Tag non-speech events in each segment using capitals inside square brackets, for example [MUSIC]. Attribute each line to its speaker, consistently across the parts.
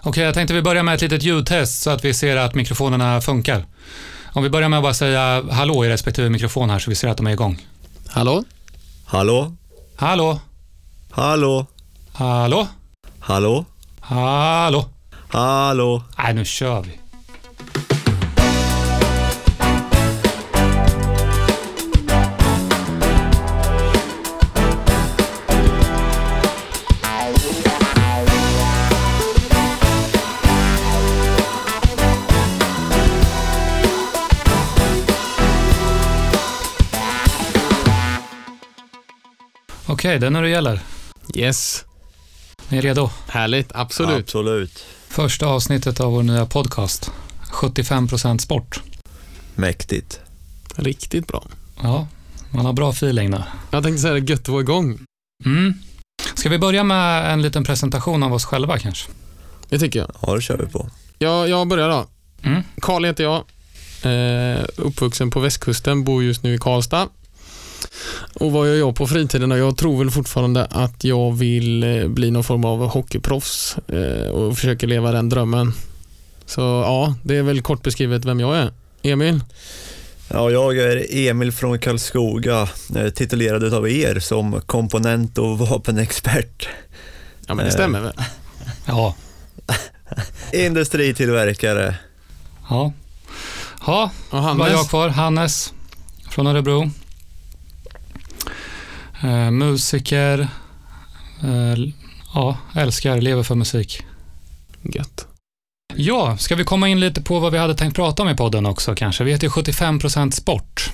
Speaker 1: Okej, jag tänkte vi börjar med ett litet ljudtest så att vi ser att mikrofonerna funkar. Om vi börjar med att bara säga hallå i respektive mikrofon här så vi ser att de är igång.
Speaker 2: Hallå?
Speaker 3: Hallå?
Speaker 1: Hallå?
Speaker 3: Hallå?
Speaker 1: Hallå?
Speaker 3: Hallå?
Speaker 1: Hallå?
Speaker 3: Hallå?
Speaker 1: Nej, nu kör vi. Okej, det är när det gäller.
Speaker 2: Yes.
Speaker 1: Ni är redo?
Speaker 2: Härligt, absolut.
Speaker 3: Absolut.
Speaker 1: Första avsnittet av vår nya podcast. 75% sport.
Speaker 3: Mäktigt.
Speaker 2: Riktigt bra.
Speaker 1: Ja, man har bra feeling där.
Speaker 2: Jag tänkte säga det, gött att vara igång.
Speaker 1: Mm. Ska vi börja med en liten presentation av oss själva kanske?
Speaker 2: Det tycker jag.
Speaker 3: Ja, det kör vi på.
Speaker 2: Jag, jag börjar då.
Speaker 1: Mm.
Speaker 2: Karl heter jag. Eh, uppvuxen på västkusten, bor just nu i Karlstad. Och vad gör jag på fritiden då? Jag tror väl fortfarande att jag vill eh, bli någon form av hockeyproffs eh, och försöker leva den drömmen. Så ja, det är väl kort beskrivet vem jag är. Emil?
Speaker 3: Ja, jag är Emil från Karlskoga, eh, titulerad utav er som komponent och [LAUGHS] vapenexpert.
Speaker 2: Ja men det
Speaker 3: Eh.
Speaker 2: stämmer väl?
Speaker 1: Ja.
Speaker 3: Industritillverkare.
Speaker 1: Ja. Ja,
Speaker 2: Och Hannes?
Speaker 1: var jag kvar. Hannes från Örebro. Eh, musiker. Eh, l- ja, älskar, lever för musik.
Speaker 2: Gött.
Speaker 1: Ja, ska vi komma in lite på vad vi hade tänkt prata om i podden också kanske? Vi heter ju 75% sport.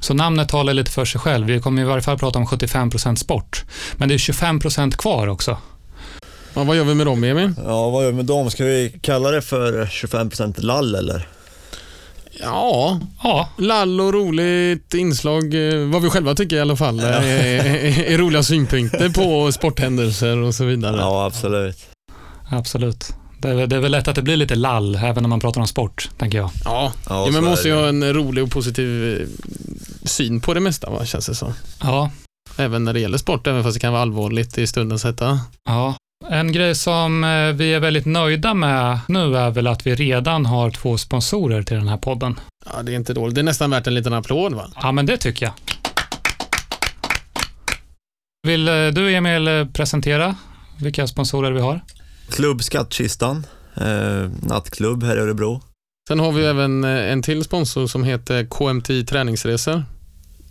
Speaker 1: Så namnet talar lite för sig själv. Vi kommer i varje fall prata om 75% sport. Men det är 25% kvar också.
Speaker 2: Ja, vad gör vi med dem Emil?
Speaker 3: Ja, vad gör vi med dem? Ska vi kalla det för 25% lall eller?
Speaker 2: Ja,
Speaker 1: Ja,
Speaker 2: lall och roligt inslag, eh, vad vi själva tycker i alla fall, eh, är, är roliga synpunkter
Speaker 3: [LAUGHS]
Speaker 2: på sporthändelser och så vidare.
Speaker 3: Ja, absolut.
Speaker 1: Absolut. Det är, väl- det är väl lätt att det blir lite lall, även när man pratar om sport, tänker jag.
Speaker 2: ja.
Speaker 3: Ja,
Speaker 2: ja
Speaker 3: så
Speaker 2: men
Speaker 3: är
Speaker 2: måste ju
Speaker 3: det.
Speaker 2: ha en rolig och positiv eh, syn på det mesta, va? känns det som.
Speaker 1: Ja.
Speaker 2: Även när det gäller sport, även fast det kan vara allvarligt i stundens hetta.
Speaker 1: ja. En grej som eh, vi är väldigt nöjda med nu är väl att vi redan har två sponsorer till den här podden.
Speaker 2: Ja, det är inte dåligt. Det är nästan värt en liten applåd va?
Speaker 1: Ja, men det tycker jag. Vill eh, du, Emil, eh, presentera vilka sponsorer vi har?
Speaker 3: Klubb Skattkistan, eh, nattklubb här i Örebro.
Speaker 2: Sen har vi ju även eh, en till sponsor som heter KMT Träningsresor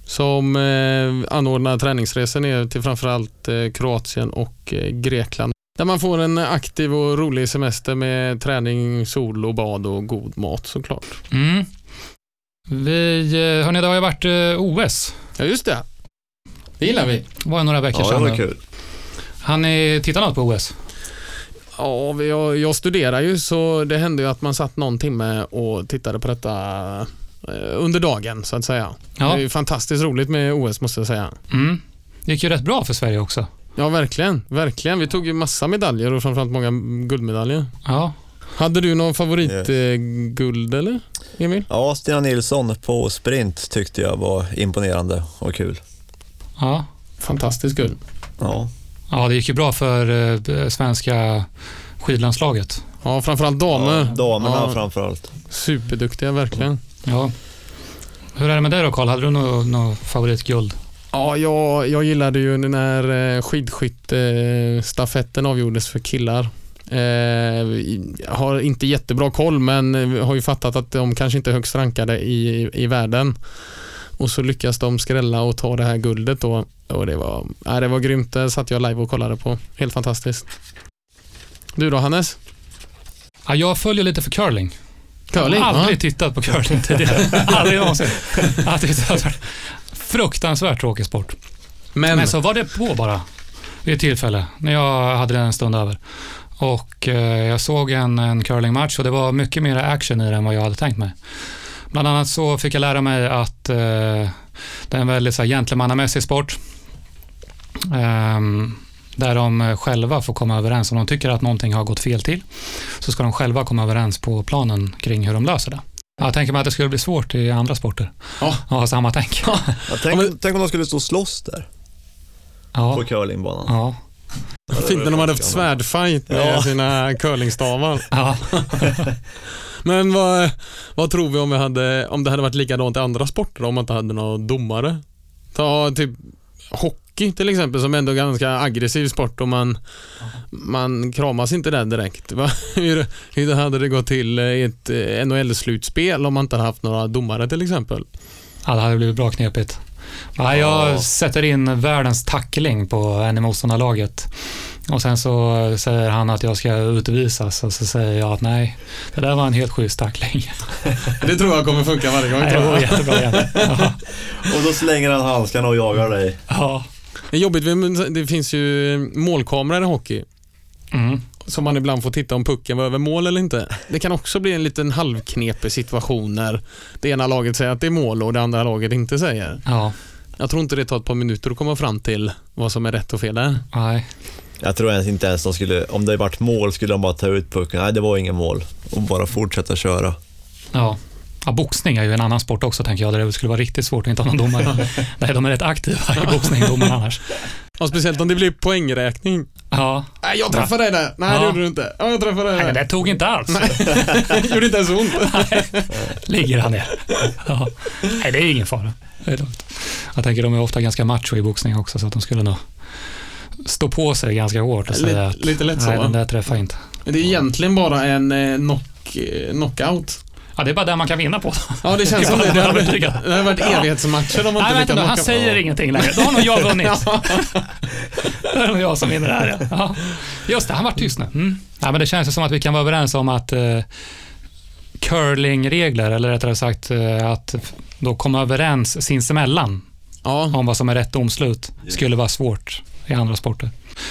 Speaker 2: som eh, anordnar träningsresor ner till framförallt eh, Kroatien och eh, Grekland där man får en aktiv och rolig semester med träning, sol och bad och god mat såklart.
Speaker 1: Mm. Vi, eh, hörni, det har ju varit eh, OS.
Speaker 2: Ja just det. Det gillar vi.
Speaker 1: Det var ju några veckor
Speaker 3: Ja, det
Speaker 1: sedan.
Speaker 3: var
Speaker 1: nu.
Speaker 3: kul.
Speaker 1: Har ni tittat något på OS?
Speaker 2: Ja, vi- jag, jag studerar ju så det hände ju att man satt någon timme och tittade på detta eh, under dagen så att säga. Det är
Speaker 1: Ja.
Speaker 2: ju fantastiskt roligt med OS måste jag säga.
Speaker 1: Mm. Det gick ju rätt bra för Sverige också.
Speaker 2: Ja, verkligen. Verkligen. Vi tog ju massa medaljer och framförallt många guldmedaljer.
Speaker 1: Ja.
Speaker 2: Hade du någon
Speaker 3: Yes.
Speaker 2: favoritguld eller, Emil?
Speaker 3: Ja, Stina Nilsson på sprint tyckte jag var imponerande och kul.
Speaker 1: Ja.
Speaker 2: Fantastiskt guld.
Speaker 3: Mm. Ja,
Speaker 1: ja, det gick ju bra för eh, svenska skidlandslaget.
Speaker 2: Ja, framförallt damer.
Speaker 3: Ja, damerna
Speaker 2: Ja.
Speaker 3: framförallt.
Speaker 2: Superduktiga, verkligen.
Speaker 1: Ja. Hur är det med dig då Karl? Hade du något nå favoritguld?
Speaker 2: Ja, jag, jag gillade ju när eh, skidskyttestafetten avgjordes för killar. Eh, i- har inte jättebra koll men eh, har ju fattat att de kanske inte är högst rankade i, i världen. Och så lyckas de skrälla och ta det här guldet då. Och det var, nej, det var grymt. Det satt jag live och kollade på. Helt fantastiskt. Du då Hannes?
Speaker 1: Ja, jag följer lite för curling.
Speaker 2: Curling?
Speaker 1: jag har
Speaker 2: Ja.
Speaker 1: aldrig tittat på curling
Speaker 2: [LAUGHS]
Speaker 1: tidigare. aldrig någonsin. Jag tyckte det var Fruktansvärt tråkig sport.
Speaker 2: Men,
Speaker 1: Men så var det på bara vid ett tillfälle när jag hade den en stund över. Och eh, jag såg en, en curlingmatch och det var mycket mer action i den än vad jag hade tänkt mig. Bland annat så fick jag lära mig att eh, det är en väldigt så här, gentlemannamässig sport. Ehm, där de eh, själva får komma överens. Om de tycker att någonting har gått fel till så ska de själva komma överens på planen kring hur de löser det. Jag tänker mig att det skulle bli svårt i andra sporter.
Speaker 2: Ja.
Speaker 1: Ja, samma tänk.
Speaker 3: Ja, tänk,
Speaker 2: Ja, men-
Speaker 3: tänk om de skulle stå och slåss där
Speaker 1: Ja.
Speaker 3: på curlingbanan.
Speaker 1: Ja.
Speaker 2: Fint när de hade haft svärdfight med
Speaker 3: Ja.
Speaker 2: sina curlingstavar.
Speaker 1: Ja.
Speaker 2: Men vad, vad tror vi om, vi hade, om det hade varit likadant i andra sporter om man inte hade några domare? Ta typ hockey till exempel som ändå är en ganska aggressiv sport och man, man kramas inte där direkt. Va? [LAUGHS] Hur, hur hade det gått till i ett eh, NHL-slutspel om man inte hade haft några domare till exempel?
Speaker 1: Ja, det hade blivit bra knepigt. Nej, jag
Speaker 3: Ja.
Speaker 1: sätter in världens tackling på en i motståndarlaget. Och sen så säger han att jag ska utvisas och så säger jag att nej, det där var en helt schysst tackling.
Speaker 2: Det tror jag kommer funka varje gång.
Speaker 1: Nej, det
Speaker 2: tror
Speaker 1: var
Speaker 2: jag.
Speaker 1: jättebra igen. Ja.
Speaker 3: Och då slänger han handskarna och jagar dig.
Speaker 1: Ja.
Speaker 2: Det är jobbigt, men det finns ju målkameror i hockey
Speaker 1: Mm.
Speaker 2: som man ibland får titta om pucken var över mål eller inte. Det kan också bli en liten halvknepig situation när det ena laget säger att det är mål och det andra laget inte säger.
Speaker 1: ja,
Speaker 2: Jag tror inte det tar ett par minuter att komma fram till vad som är rätt och fel där.
Speaker 1: nej.
Speaker 3: Jag tror ens inte ens de skulle, om det varit mål skulle de bara ta ut pucken. Nej, det var ingen mål. Och bara fortsätta köra.
Speaker 1: Ja. Ja, boxning är ju en annan sport också, tänker jag, där det skulle vara riktigt svårt att inte ha någon domare. Nej, de är rätt aktiva i boxning, domarna annars.
Speaker 2: Och speciellt om det blir poängräkning.
Speaker 1: Ja.
Speaker 2: Nej, jag träffade dig där. Nej, det
Speaker 1: Ja.
Speaker 2: gjorde du inte. Ja, jag träffade dig
Speaker 1: Nej, det
Speaker 2: där.
Speaker 1: där tog inte alls.
Speaker 2: [LAUGHS] gjorde inte ens ont.
Speaker 1: ligger han ner. Ja. Nej, det är ingen fara. Det är lugnt. Jag tänker de är ofta ganska macho i boxning också, så att de skulle nog stå på sig ganska hårt och säga
Speaker 2: Lite,
Speaker 1: att
Speaker 2: lite lätt så.
Speaker 1: nej, den
Speaker 2: va?
Speaker 1: där träffar inte.
Speaker 2: Men Det är egentligen bara en eh, knock, eh, knockout.
Speaker 1: Ja, det är bara där man kan vinna på.
Speaker 2: Ja, det
Speaker 1: [LAUGHS]
Speaker 2: känns som det. Det har varit, det har varit evighetsmatcher om man
Speaker 1: Nej,
Speaker 2: inte
Speaker 1: vänta nu, han säger ingenting längre. Då har nog jag
Speaker 2: [LAUGHS]
Speaker 1: vunnit. [LAUGHS] Då är det nog jag som vinner det här. ja. Ja. Just det, han var tyst nu. Mm. Nej, men det känns ju som att vi kan vara överens om att eh, curlingregler, eller rättare sagt eh, att f- då komma överens sinsemellan
Speaker 2: Ja,
Speaker 1: om vad som är rätt domslut skulle vara svårt i andra sporter.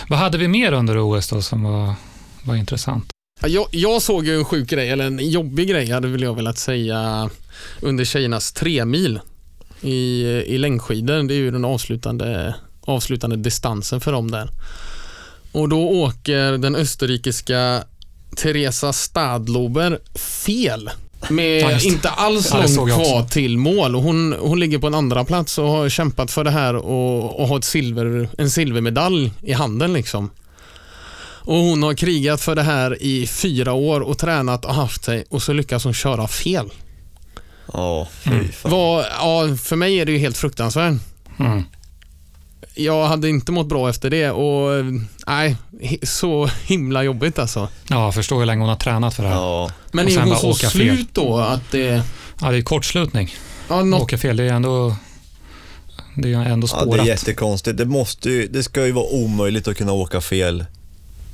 Speaker 1: Vad hade vi mer under OS då som var, var intressant?
Speaker 2: jag, jag såg ju en sjuk grej, eller en jobbig grej hade väl jag velat säga, under tjejernas tre mil i, i längdskidor. Det är ju den avslutande, avslutande distansen för dem där. Och då åker den österrikiska Teresa Stadlober fel.
Speaker 1: Ja,
Speaker 2: Med
Speaker 1: just det.
Speaker 2: inte alls
Speaker 1: Ja, det
Speaker 2: långt
Speaker 1: såg jag
Speaker 2: kvar till mål. Och hon, hon ligger på en andra plats och har kämpat för det här och, och har ett silver, en silvermedalj i handen. Liksom. Och Hon har krigat för det här i fyra år och tränat och haft sig och så lyckas hon köra fel.
Speaker 3: Ja,
Speaker 1: Mm.
Speaker 3: fy fan.
Speaker 2: Vad, ja, för mig är det ju helt fruktansvärt.
Speaker 1: Mm.
Speaker 2: Jag hade inte mått bra efter det och eh, nej, he- så himla jobbigt alltså.
Speaker 1: Ja, jag förstår hur länge hon har tränat för det här. Ja,
Speaker 3: Ja.
Speaker 2: Men
Speaker 1: Och
Speaker 2: är
Speaker 1: sen
Speaker 2: hon
Speaker 1: bara
Speaker 2: så
Speaker 1: åka fel.
Speaker 2: slut då att det...
Speaker 1: det är kortslutning.
Speaker 2: Ja, något,
Speaker 1: Åka fel, det är ändå, det är ändå
Speaker 3: ja, det är
Speaker 1: spårat.
Speaker 3: jättekonstigt. Det, måste ju, det ska ju vara omöjligt att kunna åka fel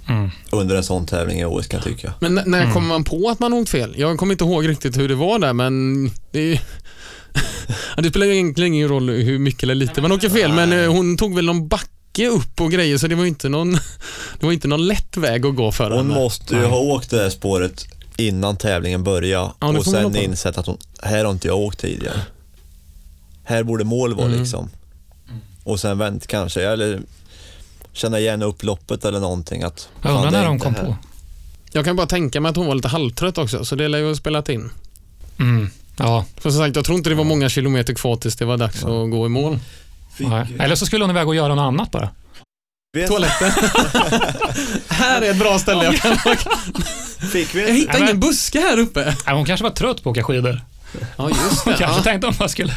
Speaker 1: mm.
Speaker 3: under en sån tävling i OS kan jag tycka.
Speaker 2: men n- när
Speaker 1: Mm.
Speaker 2: kommer man på att man åkt fel? Jag kommer inte ihåg riktigt hur det var där men det är ju... [LAUGHS] Ja, det spelar ju egentligen ingen roll hur mycket eller lite man åker fel men eh, hon tog väl någon backe upp och grejer så det var ju inte någon, [LAUGHS] det var inte någon lätt väg att gå för
Speaker 3: Hon
Speaker 2: henne.
Speaker 3: måste ju
Speaker 1: Nej.
Speaker 3: ha åkt det här spåret innan tävlingen började
Speaker 2: Ja, det
Speaker 3: och
Speaker 2: får man
Speaker 3: sen
Speaker 2: hoppas.
Speaker 3: insett att hon, här har inte jag åkt tidigare. Här borde mål vara
Speaker 2: Mm.
Speaker 3: liksom. Och sen vänt kanske, eller känna igen upploppet eller någonting. Att,
Speaker 1: Jag
Speaker 3: fan,
Speaker 1: undrar
Speaker 3: det är
Speaker 1: när de
Speaker 3: inte
Speaker 1: kom
Speaker 3: här.
Speaker 1: på.
Speaker 2: Jag kan bara tänka mig att hon var lite halvtrött också så det lär ju ha spelat in.
Speaker 1: Mm. Ja,
Speaker 2: För som sagt, jag tror inte det var många kilometer kvar tills det var dags att gå i mål.
Speaker 1: nej. Eller så skulle hon iväg och göra något annat bara.
Speaker 3: Vet-
Speaker 2: Toaletten. här är ett bra ställe jag kan åka.
Speaker 3: Fick
Speaker 2: Jag
Speaker 3: vi?
Speaker 2: hittar ingen buske här uppe.
Speaker 1: Nej, hon kanske var trött på att åka skidor.
Speaker 2: Ja, just
Speaker 1: Hon
Speaker 2: det.
Speaker 1: kanske
Speaker 2: Ja.
Speaker 1: tänkte om jag skulle...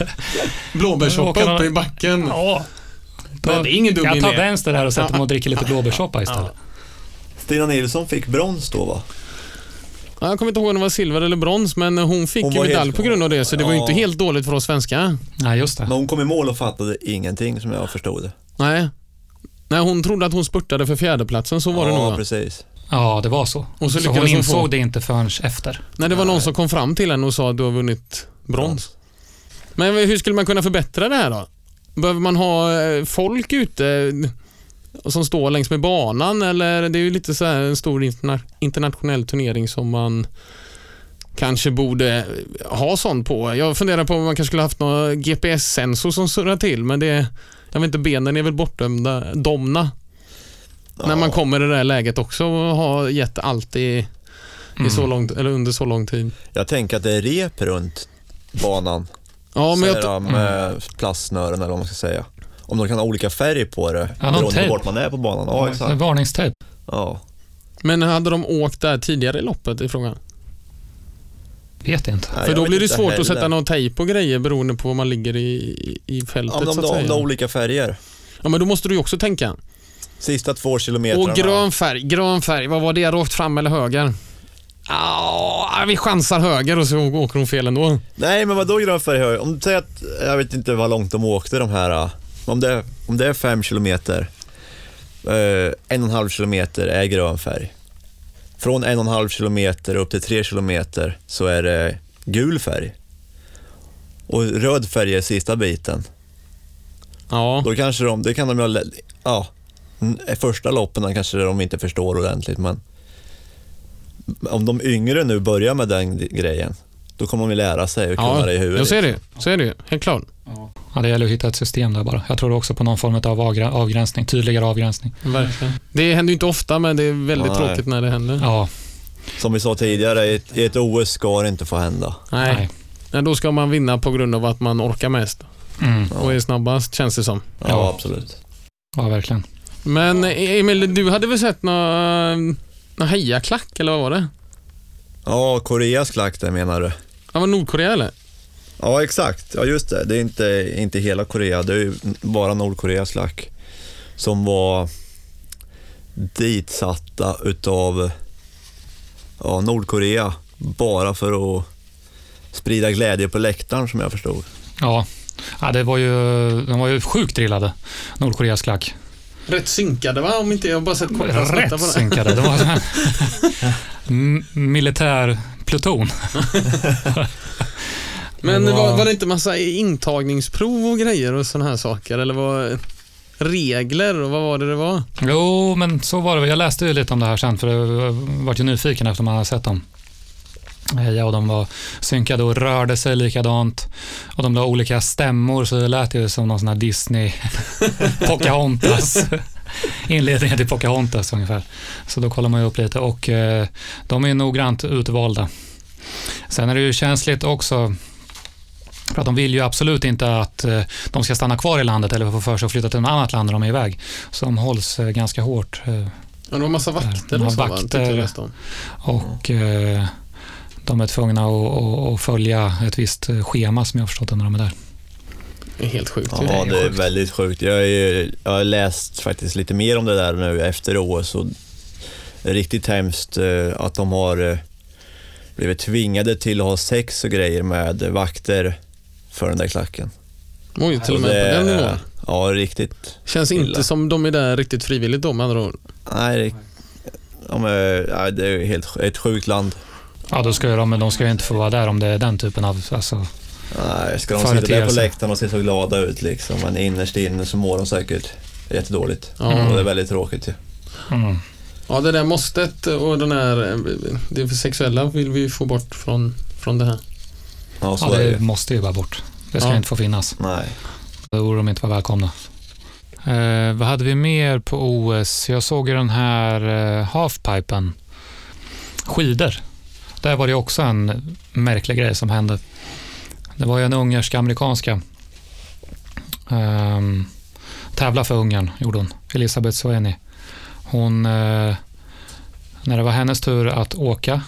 Speaker 2: Blåbärssoppa
Speaker 1: Åka
Speaker 2: uppe i
Speaker 1: någon-
Speaker 2: backen.
Speaker 1: Ja.
Speaker 2: Men det är ingen dum
Speaker 1: jag tar
Speaker 2: idé.
Speaker 1: vänster här och sätter mig och dricker lite blåbärssoppa istället.
Speaker 3: Stina Nilsson fick brons då va?
Speaker 2: Ja, jag kommer inte ihåg om det var silver eller brons, men hon fick
Speaker 3: Hon
Speaker 2: ju
Speaker 3: var helt-
Speaker 2: medalj på grund av det, så det var ju inte
Speaker 3: Ja.
Speaker 2: helt dåligt för oss svenskar.
Speaker 1: Nej, just det.
Speaker 3: Men hon kom i mål och fattade ingenting som jag förstod det.
Speaker 2: Nej. Nej, hon trodde att hon spurtade för fjärdeplatsen, så var det nog.
Speaker 3: ja,
Speaker 2: va?
Speaker 3: precis.
Speaker 1: Ja, det var så.
Speaker 2: Och så
Speaker 1: så,
Speaker 2: lyckades
Speaker 1: hon
Speaker 2: hon
Speaker 1: insåg
Speaker 2: få-
Speaker 1: det inte förrän efter.
Speaker 2: Nej, det var någon som kom fram till henne och sa att du har vunnit brons. Men hur skulle man kunna förbättra det här då? Behöver man ha eh, folk ute eh, som står längs med banan eller det är ju lite så här en stor interna- internationell turnering som man kanske borde eh, ha sånt på. Jag funderar på om man kanske skulle haft någon GPS-sensor som surrar till men det, jag vet inte, benen är väl bortdömda domna
Speaker 3: Ja.
Speaker 2: när man kommer i det där läget också och har gett allt i, i så
Speaker 1: Mm.
Speaker 2: långt, eller under så lång tid.
Speaker 3: Jag tänker att det är rep runt banan,
Speaker 2: Ja, men jag,
Speaker 3: säger de med plastsnören eller eh, vad man ska säga. om de kan ha olika färg på det.
Speaker 1: Ja, någon
Speaker 3: beroende på
Speaker 1: tejp.
Speaker 3: vart man är på banan. Ja, exakt.
Speaker 1: Varningstejp.
Speaker 3: Ja.
Speaker 2: Men hade de åkt där tidigare i loppet i frågan?
Speaker 1: Vet inte.
Speaker 3: Nej,
Speaker 2: För
Speaker 3: jag
Speaker 2: då
Speaker 3: vet
Speaker 2: blir det
Speaker 3: inte
Speaker 2: svårt
Speaker 3: heller.
Speaker 2: att sätta någon tejp på grejer beroende på var man ligger i, i- i fältet
Speaker 3: Om de,
Speaker 2: typ, så
Speaker 3: om
Speaker 2: att
Speaker 3: de
Speaker 2: säga.
Speaker 3: har olika färger.
Speaker 2: Ja men då måste du ju också tänka.
Speaker 3: Sista två kilometrarna.
Speaker 2: Och grön färg, grön färg, vad var det? Rakt fram eller höger? Ja, vi chansar höger och så åker hon fel ändå.
Speaker 3: Nej, men vadå grön färg? höger? Om du säger att, jag vet inte vad långt de åkte de här. ah. Om det, om det är fem kilometer, eh, en och en halv kilometer är grön färg. Från en och en halv kilometer upp till tre kilometer så är det gul färg. Och röd färg är sista biten.
Speaker 2: Ja,
Speaker 3: Då kanske de, det kan de ju ha, lä- ja, n- första loppen kanske de inte förstår ordentligt men om de yngre nu börjar med den grejen, då kommer de ju lära sig och kunna
Speaker 2: ja.
Speaker 3: det i
Speaker 2: jag
Speaker 3: huvudet. liksom.
Speaker 2: ser det. Så är det ju. Helt klart.
Speaker 1: Ja, det gäller att hitta ett system där bara. Jag tror också på någon form av avgra- avgränsning, tydligare avgränsning.
Speaker 2: Verkligen. Det händer ju inte ofta, men det är väldigt
Speaker 3: Nej.
Speaker 2: tråkigt när det händer.
Speaker 1: Ja,
Speaker 3: Som vi sa tidigare, i ett, i ett OS ska det inte få hända.
Speaker 2: Nej.
Speaker 1: nej.
Speaker 2: Nej, då ska man vinna på grund av att man orkar mest
Speaker 1: Mm,
Speaker 2: och är snabbast, känns det som.
Speaker 3: Ja,
Speaker 1: Ja.
Speaker 3: absolut.
Speaker 1: ja, verkligen.
Speaker 2: Men eh, Emil, du hade väl sett någon hejaklack, eller vad var det?
Speaker 3: Ja, Koreas klack där menar du?
Speaker 2: Ja, var det Nordkorea eller?
Speaker 3: Ja, exakt. Ja, just det. Det är inte, inte hela Korea, det är ju bara Nordkoreas klack. Som var ditsatta utav ja, Nordkorea, bara för att sprida glädje på läktaren som jag förstod.
Speaker 1: Ja. Ja, det var ju, de var ju sjukt drillade, Nordkoreas klack.
Speaker 2: Rätt synkade va? Om inte jag bara sett korta snuttar
Speaker 1: Rätt
Speaker 2: på det.
Speaker 1: synkade. Det var så
Speaker 2: [LAUGHS]
Speaker 1: här- M- militärpluton.
Speaker 2: Men
Speaker 1: Det var-
Speaker 2: var, var det inte massa intagningsprov och grejer och sådana här saker? Eller var regler och vad var det det var?
Speaker 1: Jo, men så var det. Jag läste ju lite om det här sen, för jag vart ju nyfiken efter man hade sett dem. Ja, och de var synkade och rörde sig likadant. Och de la olika stämmor, så det lät ju som någon sån här Disney [LAUGHS] Pocahontas. Inledningen till Pocahontas ungefär. Så då kollar man ju upp lite och eh, de är noggrant utvalda. Sen är det ju känsligt också, för att de vill ju absolut inte att eh, de ska stanna kvar i landet eller få för sig att flytta till något annat land när de är iväg. Så de hålls eh, ganska hårt. eh,
Speaker 2: Ja, det var massa vakter och
Speaker 1: Några
Speaker 2: så va? Tyckte jag
Speaker 1: vakter.
Speaker 2: läste om.
Speaker 1: Och eh, de är tvungna att, att, att följa ett visst eh, schema som jag har förstått det när de är där.
Speaker 2: Det är helt sjukt ju.
Speaker 3: Ja,
Speaker 1: ju
Speaker 3: det är
Speaker 1: sjukt.
Speaker 3: väldigt sjukt. Jag, är ju, jag har läst faktiskt lite mer om det där nu efter OS och det är riktigt hemskt eh, att de har eh, blivit tvingade till att ha sex och grejer med vakter för den där klacken.
Speaker 2: Oj, till och
Speaker 3: Så
Speaker 2: med
Speaker 3: det-
Speaker 2: på den nivån.
Speaker 3: Eh, Ja, riktigt.
Speaker 2: Känns
Speaker 3: illa.
Speaker 2: inte som de är där riktigt frivilligt då med andra ord.
Speaker 3: Nej, det, de är, nej, det är ju helt, ett sjukt land.
Speaker 1: Ja, då ska ju de, men de ska ju inte få vara där om det är den typen av... Alltså,
Speaker 3: Nej, ska de sitta där på
Speaker 1: Företeelse.
Speaker 3: läktaren och se så glada ut liksom, men innerst inne så mår de säkert jättedåligt.
Speaker 2: Ja.
Speaker 3: Och det är väldigt tråkigt ju.
Speaker 1: mm.
Speaker 2: Ja, det där måstet och den här, eh, det sexuella vill vi ju få bort från, från det här.
Speaker 3: Ja, så
Speaker 1: ja,
Speaker 3: är det ju.
Speaker 1: det måste ju vara bort. Det ska
Speaker 2: Ja.
Speaker 1: inte få finnas.
Speaker 3: Nej.
Speaker 1: Då borde de inte vara välkomna. Eh, vad hade vi mer på OS? Jag såg ju den här eh, halfpipen. Skidor. Där var det också en märklig grej som hände. Det var ju en ungerska-amerikanska. Um, tävla för Ungern, gjorde hon. Elisabeth Soeni. Hon, eh, när det var hennes tur att åka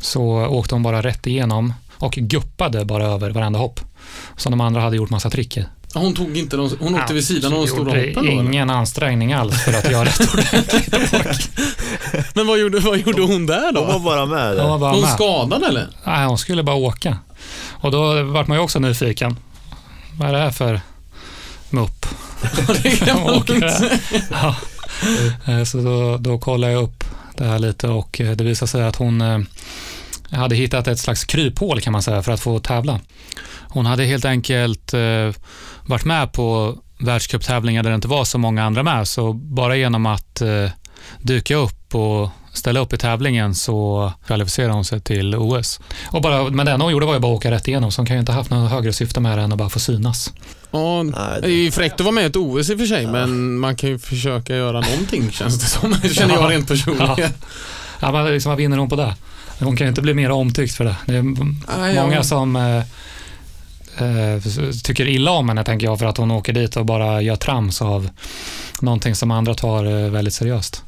Speaker 1: så åkte hon bara rätt igenom och guppade bara över varenda hopp. Som de andra hade gjort massa trick i.
Speaker 2: Ja, Hon tog inte de, hon åkte
Speaker 1: Ja,
Speaker 2: vid sidan av de
Speaker 1: gjorde
Speaker 2: stora hoppen då, eller?
Speaker 1: Ingen ansträngning alls för att göra ett ordentligt åk.
Speaker 2: Men vad gjorde, vad gjorde hon där
Speaker 3: De var
Speaker 2: då?
Speaker 3: bara med
Speaker 1: Hon
Speaker 3: där.
Speaker 1: var bara
Speaker 2: Hon
Speaker 1: med.
Speaker 2: skadad
Speaker 1: [LAUGHS]
Speaker 2: eller?
Speaker 1: Nej, hon skulle bara åka. Och då vart man ju också nyfiken. Vad är det här för mupp?
Speaker 2: Det kan man
Speaker 1: Åker
Speaker 2: lugnt
Speaker 1: där.
Speaker 2: säga.
Speaker 1: Ja. Eh, Så då, då kollade jag upp det här lite och eh, det visade sig att hon eh, hade hittat ett slags kryphål kan man säga för att få tävla. Hon hade helt enkelt eh, varit med på världscuptävlingar där det inte var så många andra med så bara genom att eh, dyka upp och ställa upp i tävlingen så kvalificerade hon sig till OS. Och bara, men det enda hon gjorde var ju bara att åka rätt igenom så hon kan ju inte ha haft något högre syfte med det än att bara få synas.
Speaker 2: Ja,
Speaker 3: Nej,
Speaker 2: det är ju fräckt att vara med i ett OS i och för sig, men man kan ju försöka göra någonting känns det som. Det känner jag rent personligen.
Speaker 1: Ja, men liksom, vad vinner hon på det? Hon kan ju inte bli mer omtyckt för det. det är,
Speaker 2: Nej, ja.
Speaker 1: Många som eh, eh, tycker illa om henne, tänker jag, för att hon åker dit och bara gör trams av någonting som andra tar eh, väldigt seriöst.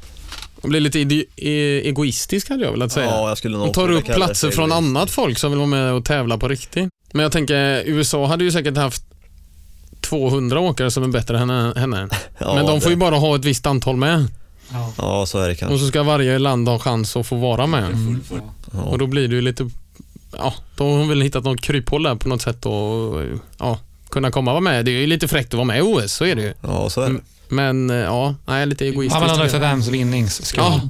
Speaker 2: Hon blir lite ide- e- egoistisk hade jag velat säga.
Speaker 3: Ja, jag skulle nog
Speaker 2: De tar
Speaker 3: vilja
Speaker 2: upp
Speaker 3: kalla det
Speaker 2: platser
Speaker 3: sig
Speaker 2: från
Speaker 3: egoistiskt.
Speaker 2: annat folk som vill vara med och tävla på riktigt. Men jag tänker, USA hade ju säkert haft 200 åkare som är bättre än henne.
Speaker 3: Ja,
Speaker 2: Men de får
Speaker 3: det-
Speaker 2: ju bara ha ett visst antal med.
Speaker 3: Ja, så är det kanske.
Speaker 2: Och så ska varje land ha chans att få vara med.
Speaker 1: Mm.
Speaker 2: Och
Speaker 3: Ja.
Speaker 2: då blir det ju lite, ja, då har hon väl hittat något kryphål där på något sätt och ja, kunna komma vara med. Det är ju lite fräckt att vara med i OS, så är det ju.
Speaker 3: ja, så är det.
Speaker 2: Men eh, ja, nej, lite egoistiskt.
Speaker 1: Man undrar för vems vinnings skull.
Speaker 2: Ja.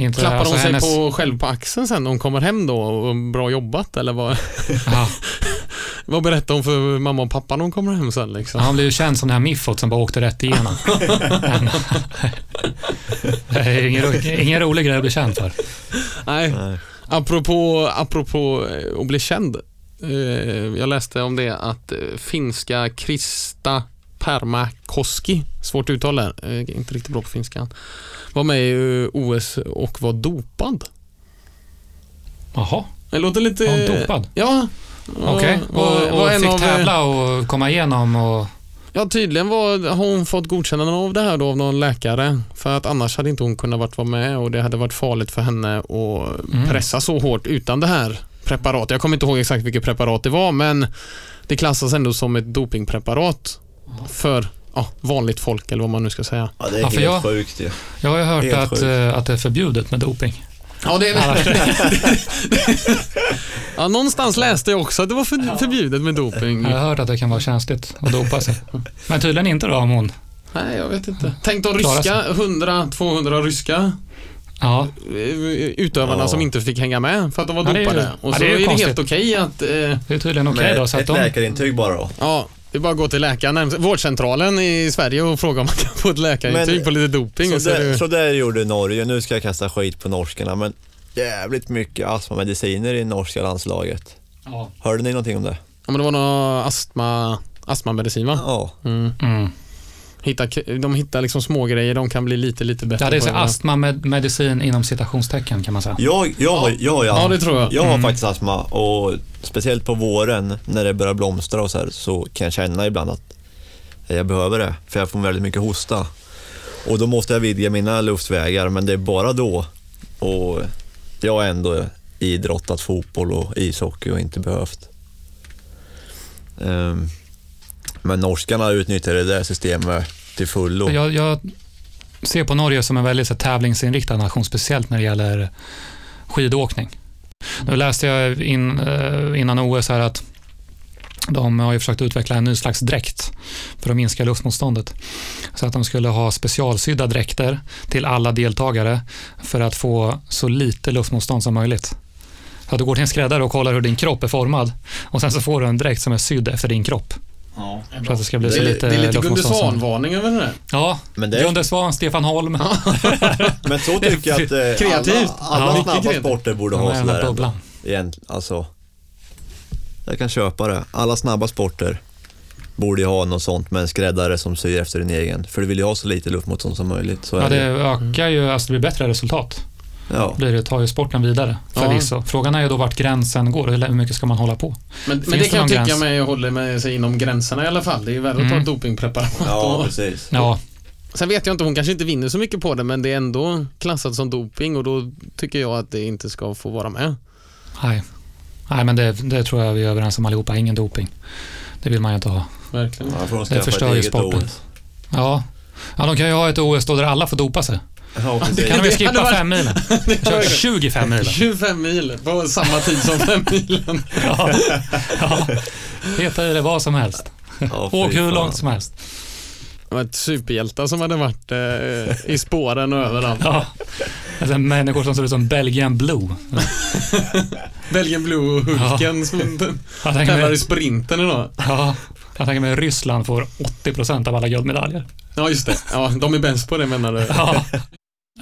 Speaker 1: Inte,
Speaker 2: Klappar
Speaker 1: alltså,
Speaker 2: hon sig
Speaker 1: hennes-
Speaker 2: på, själv på axeln sen när hon kommer hem då och bra jobbat eller vad,
Speaker 1: [LAUGHS]
Speaker 2: [LAUGHS]
Speaker 1: Ja.
Speaker 2: vad berättar hon för mamma och pappa när hon kommer hem sen liksom?
Speaker 1: Han blev ju känd som den här miffot som bara åkte rätt
Speaker 2: [LAUGHS]
Speaker 1: igenom. Men- det är ingen, ro- ingen rolig grej att bli känd för.
Speaker 2: Nej,
Speaker 3: Nej.
Speaker 2: apropå, apropå eh, att bli känd. Eh, Jag läste om det att eh, finska Krista Pärmäkoski, svårt uttal där, eh, inte riktigt bra på finskan, var med i eh, OS och var dopad.
Speaker 1: Jaha,
Speaker 2: Det låter lite...
Speaker 1: var hon dopad?
Speaker 2: Eh, Ja.
Speaker 1: Okej,
Speaker 2: Var-
Speaker 1: och,
Speaker 2: var
Speaker 1: och
Speaker 2: en av,
Speaker 1: fick
Speaker 2: eh,
Speaker 1: tävla och komma igenom och...
Speaker 2: Ja, tydligen var, har hon fått godkännande av det här då av någon läkare. För att annars hade inte hon kunnat varit vara med och det hade varit farligt för henne att
Speaker 1: Mm.
Speaker 2: pressa så hårt utan det här preparatet. Jag kommer inte ihåg exakt vilket preparat det var, men det klassas ändå som ett dopingpreparat för ja, vanligt folk eller vad man nu ska säga.
Speaker 3: Ja, det är
Speaker 1: Ja, för
Speaker 3: helt
Speaker 1: jag-
Speaker 3: sjukt ju.
Speaker 1: Jag har ju hört
Speaker 3: Helt
Speaker 1: att,
Speaker 3: sjukt.
Speaker 1: eh, att det är förbjudet med doping.
Speaker 2: Ja, det [LAUGHS] ja, någonstans läste jag också att det var för, förbjudet med doping.
Speaker 1: Jag har hört att det kan vara känsligt att dopa sig. Men tydligen inte då, om hon...
Speaker 2: Nej, jag vet inte. Tänk de
Speaker 1: Klara sig.
Speaker 2: ryska, 100-200 ryska
Speaker 1: Ja,
Speaker 2: eh, utövarna
Speaker 3: Ja.
Speaker 2: som inte fick hänga med för att de var
Speaker 1: Ja, det är ju-
Speaker 2: dopade. Och
Speaker 1: ja,
Speaker 2: så
Speaker 1: det är ju
Speaker 2: är, det
Speaker 1: konstigt.
Speaker 2: helt okej att, eh,
Speaker 1: det är tydligen okej
Speaker 3: Med
Speaker 1: då. Så att
Speaker 3: ett
Speaker 1: de,
Speaker 3: läkarintyg bara då.
Speaker 2: ja, det är bara att gå till läkaren, närmast- vårdcentralen i Sverige och fråga om man kan få ett läkarintyg
Speaker 3: Men-
Speaker 2: på lite doping. och
Speaker 3: Så
Speaker 2: så är det,
Speaker 3: där, så där gjorde Norge. Nu ska jag kasta skit på norskarna, men jävligt mycket astmamediciner i norska landslaget.
Speaker 1: ja.
Speaker 3: Hörde ni någonting om det?
Speaker 2: ja, men det var någon astma, astmamedicin va?
Speaker 3: Ja.
Speaker 2: Mm.
Speaker 1: Mm.
Speaker 2: Hitta, k- de hittar liksom små grejer de kan bli lite, lite bättre
Speaker 1: ja, det är så
Speaker 2: på.
Speaker 1: astmamedicin inom citationstecken kan man säga.
Speaker 3: Jag, jag, har- jag, har ju
Speaker 2: Ja, det tror jag. Mm.
Speaker 3: Jag har faktiskt astma och speciellt på våren när det börjar blomstra och så här så kan jag känna ibland att jag behöver det för jag får väldigt mycket hosta. Och då måste jag vidga mina luftvägar men det är bara då. Och jag har ändå idrottat fotboll och ishockey och inte behövt. Ehm, men norskarna utnyttjar det där systemet till fullo.
Speaker 1: Jag, jag ser på Norge som en väldigt så, här, tävlingsinriktad nation, speciellt när det gäller skidåkning. Nu läste jag in, eh, innan OS här att de har ju försökt utveckla en ny slags dräkt för att minska luftmotståndet. Så att de skulle ha specialsydda dräkter till alla deltagare för att få så lite luftmotstånd som möjligt. Så att du går till en skräddare och kollar hur din kropp är formad och sen så får du en dräkt som är sydd efter din kropp. För att det ska bli så
Speaker 3: Det är-
Speaker 1: lite
Speaker 2: det är lite Gunde
Speaker 1: luftmotstånd som-
Speaker 2: Svan-varning över det där.
Speaker 1: Ja,
Speaker 3: Men det är-
Speaker 1: Gunde Svan, Stefan Holm.
Speaker 3: Men så tycker jag att
Speaker 2: [LAUGHS]
Speaker 3: eh,
Speaker 2: Kreativt.
Speaker 3: alla, alla
Speaker 1: Ja,
Speaker 2: mycket
Speaker 3: snabba
Speaker 2: kreativt.
Speaker 3: sporter borde
Speaker 1: Den
Speaker 3: ha
Speaker 1: här jävla
Speaker 3: sådär. ändå.
Speaker 1: bubblan.
Speaker 3: Egentligen, alltså. Jag kan köpa det. Alla snabba sporter borde ju ha något sånt med en skräddare som syr efter din egen. För du vill ju ha så lite luftmotstånd som möjligt. Så
Speaker 1: Ja,
Speaker 3: är
Speaker 1: det
Speaker 3: det.
Speaker 1: ökar ju, alltså det blir bättre resultat.
Speaker 3: Ja.
Speaker 1: Blir det tar ju sporten vidare förvisso. Frågan är ju då vart gränsen går, eller hur mycket ska man hålla på?
Speaker 2: Men, men
Speaker 1: det
Speaker 2: det kan jag
Speaker 1: någon
Speaker 2: tycka
Speaker 1: gräns?
Speaker 2: mig håller med sig inom gränserna i alla fall. Det är ju värre att ta
Speaker 1: Mm.
Speaker 2: ett dopingpreparat.
Speaker 3: ja,
Speaker 2: och-
Speaker 3: precis.
Speaker 1: Ja,
Speaker 2: Sen vet jag inte, hon kanske inte vinner så mycket på det men det är ändå klassat som doping och då tycker jag att det inte ska få vara med.
Speaker 1: nej. Nej, men det, det tror jag vi är överens om allihopa. Ingen doping. Det vill man ju inte ha.
Speaker 2: [LAUGHS] Verkligen.
Speaker 3: Ja, får de
Speaker 1: Det
Speaker 3: skaffa
Speaker 1: förstör
Speaker 3: ett
Speaker 1: ju
Speaker 3: eget
Speaker 1: sporten.
Speaker 3: OS.
Speaker 1: Ja. ja, de kan ju ha ett OS då där alla får dopa sig.
Speaker 3: Ja,
Speaker 1: Då
Speaker 3: precis.
Speaker 1: kan de
Speaker 2: Det
Speaker 1: ju skippa
Speaker 2: hade varit-
Speaker 1: fem milen. Kör 25 milen.
Speaker 2: 25 mil på samma tid som 5 milen.
Speaker 1: Ja. Ja. Peta i det vad som helst.
Speaker 3: Ja, fy
Speaker 1: Åk hur
Speaker 3: fan.
Speaker 1: långt som helst.
Speaker 2: Det var ett superhjältar som hade varit eh, i spåren och överallt.
Speaker 1: Ja. Alltså, människor som ser ut som Belgian Blue.
Speaker 2: Belgien Blue och Hulken [LAUGHS] som
Speaker 1: Jag tänker
Speaker 2: tävlar i
Speaker 1: mig,
Speaker 2: sprinten idag.
Speaker 1: ja, jag tänker mig Ryssland får 80 av alla guldmedaljer.
Speaker 2: Ja just det, ja, de är bäst på det menar du.
Speaker 1: Ja. [LAUGHS]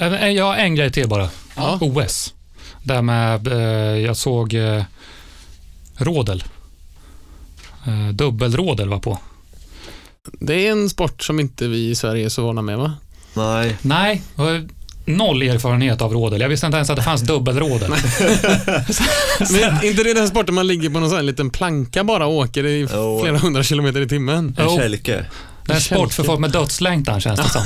Speaker 1: Eh, Jag har en grej till bara.
Speaker 2: Ja.
Speaker 1: OS. Där med, eh, jag såg eh, rådel. Eh, dubbelrådel var på.
Speaker 2: Det är en sport som inte vi i Sverige är så vana med va?
Speaker 3: Nej,
Speaker 1: Nej, och noll erfarenhet av rådel. Jag visste inte ens att det fanns dubbelrådel.
Speaker 2: [LAUGHS] Men inte det den sporten man ligger på någon sån här liten planka bara och åker i
Speaker 3: Jo.
Speaker 2: flera hundra kilometer i timmen?
Speaker 3: En
Speaker 1: Jo.
Speaker 3: kälke.
Speaker 1: Det är en sport för folk med dödslängtan känns [LAUGHS] det som.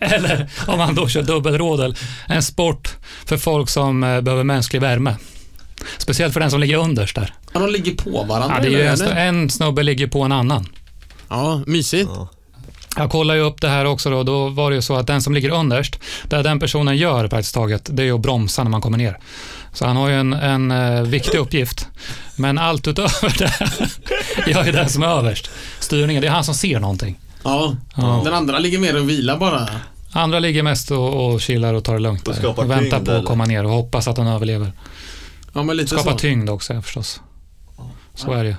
Speaker 1: Eller om man då kör dubbelrådel, en sport för folk som eh, behöver mänsklig värme. Speciellt för den som ligger underst där.
Speaker 2: Ja, de ligger på varandra.
Speaker 1: Ja, det är ju
Speaker 2: eller?
Speaker 1: en, st- en snubbe ligger på en annan.
Speaker 2: ja mysigt.
Speaker 3: Ja.
Speaker 1: Jag kollar ju upp det här också då, då var det ju så att den som ligger underst, det den personen gör praktiskt taget, det är ju att bromsa när man kommer ner. Så han har ju en, en eh, viktig uppgift. Men allt utöver [LAUGHS] det gör ju den som är överst. Styrningen, det är han som ser någonting.
Speaker 2: Ja.
Speaker 1: Ja.
Speaker 2: Den andra ligger mer och vilar bara.
Speaker 1: Andra ligger mest och, och chillar och tar det lugnt.
Speaker 3: Och
Speaker 1: där.
Speaker 3: skapar
Speaker 1: och väntar
Speaker 3: tyngd,
Speaker 1: på att
Speaker 3: eller?
Speaker 1: komma ner och hoppas att den överlever.
Speaker 2: Ja, men lite
Speaker 1: Skapar
Speaker 2: så.
Speaker 1: tyngd också ja, förstås. Så är det ju.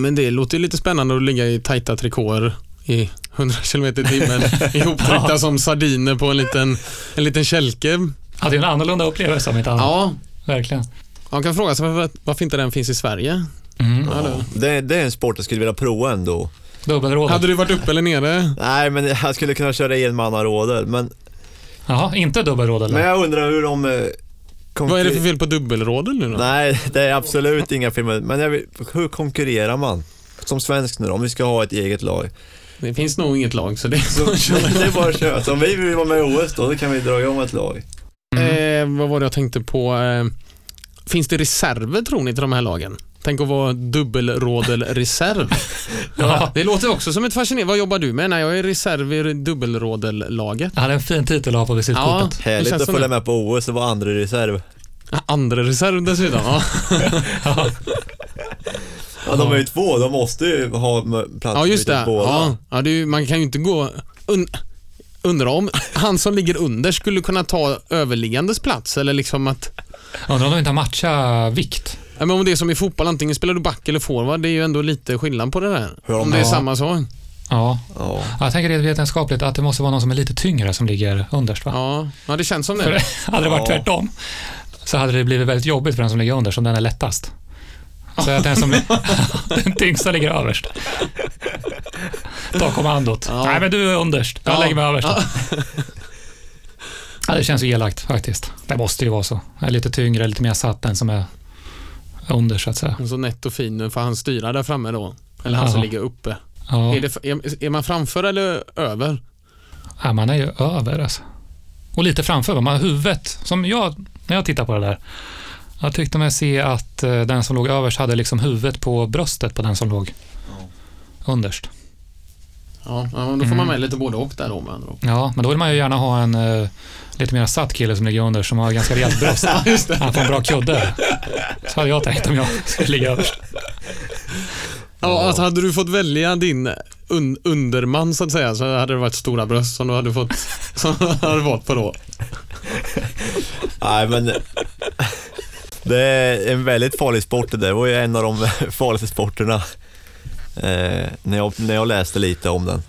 Speaker 2: Men det låter ju lite spännande att ligga i tajta trikåer i 100 km i [LAUGHS] timmen ihoptryckta som sardiner på en liten, en liten kälke.
Speaker 1: Ja, det är en annorlunda upplevelse om inte annat.
Speaker 2: Ja,
Speaker 1: Verkligen.
Speaker 2: man kan fråga sig varför, varför inte den finns i Sverige.
Speaker 1: Mm.
Speaker 3: Ja. Det, det är en sport jag skulle vilja prova ändå.
Speaker 1: Dubbelrådet.
Speaker 2: Hade du varit uppe eller nere?
Speaker 3: Nej, men jag skulle kunna köra i en mannarådel. Men,
Speaker 1: Jaha, inte dubbelråd eller?
Speaker 3: men jag undrar hur de... eh, konkur-
Speaker 2: Vad är det för fel på dubbelrådel nu då?
Speaker 3: Nej, det är absolut inga filmer. Men jag vill, hur konkurrerar man? Som svensk nu då, om vi ska ha ett eget lag.
Speaker 2: Det finns nog inget lag så det [LAUGHS]
Speaker 3: Så, [LAUGHS] det är bara att köra. Så Om vi vill vara med i OS då, då kan vi dra igång ett lag.
Speaker 1: Mm.
Speaker 2: Eh, vad var det jag tänkte på? Eh, finns det reserver tror ni till de här lagen? Tänk att vara dubbelrådelreserv.
Speaker 1: Ja.
Speaker 2: Det låter också som ett fascinerande... Vad jobbar du med? Nej, jag är reserv i dubbelrådellaget.
Speaker 1: Han hade en fin titel att ha på visitkortet.
Speaker 2: Det
Speaker 3: Härligt
Speaker 2: känns
Speaker 3: att
Speaker 2: som
Speaker 3: följa
Speaker 2: det.
Speaker 3: med på OS och vara andra reserv.
Speaker 2: Andra reserv dessutom. Ja,
Speaker 1: Ja.
Speaker 3: Ja, de är ju två, de måste ju ha m- plats
Speaker 2: ja just
Speaker 3: för
Speaker 2: det.
Speaker 3: båda.
Speaker 2: Ja, ja, det är ju, man kan ju inte gå... Un, undra om han som ligger under skulle kunna ta överliggandes plats eller liksom att...
Speaker 1: Undrar om de inte har matcha vikt.
Speaker 2: Ja, men om det är som i fotboll, antingen spelar du back eller forward, det är ju ändå lite skillnad på det där.
Speaker 3: Hur de
Speaker 2: Om det är
Speaker 1: har-
Speaker 2: samma sak.
Speaker 1: Ja.
Speaker 3: Ja.
Speaker 1: Jag tänker rent vetenskapligt att det måste vara någon som är lite tyngre som ligger underst. Va?
Speaker 2: Ja, ja det känns som
Speaker 1: För
Speaker 2: det.
Speaker 1: [LAUGHS] hade det varit
Speaker 3: Ja.
Speaker 1: tvärtom så hade det blivit väldigt jobbigt för den som ligger under som den är lättast. Så att den, som, [LAUGHS] den tyngsta ligger överst. Ta kommandot.
Speaker 2: Ja.
Speaker 1: Nej, men du är underst. Jag
Speaker 2: Ja.
Speaker 1: lägger mig överst.
Speaker 2: Ja.
Speaker 1: Ja, det känns ju elakt faktiskt. Det måste ju vara så. Jag är lite tyngre, lite mer satt än som är under så att säga.
Speaker 2: Och så nätt och fin nu får han styra där framme då. Eller han som
Speaker 1: Ja.
Speaker 2: ligger uppe.
Speaker 1: Ja.
Speaker 2: Är, det, är, är man framför eller över?
Speaker 1: Ja, man är ju över alltså. Och lite framför, va? man har huvudet. Som jag, när jag tittar på det där, jag tyckte mig se att eh, den som låg överst hade liksom huvudet på bröstet på den som låg underst.
Speaker 2: Ja, ja, då får man med lite både och där då med andra ord.
Speaker 1: Ja, men då vill man ju gärna ha en eh, lite mer satt kille som ligger under som har ganska rejält
Speaker 2: [LAUGHS]
Speaker 1: bröst. Han får en bra kudde. Så hade jag tänkt om jag skulle ligga överst.
Speaker 2: Ja, alltså hade du fått välja din un underman så att säga så hade det varit stora bröst som du hade fått [LAUGHS] som du hade varit på då.
Speaker 3: Nej, men... [LAUGHS] Det är en väldigt farlig sport det där. Det var ju en av de [LAUGHS] farligaste sporterna. Eh, när, jag, när jag läste lite om den.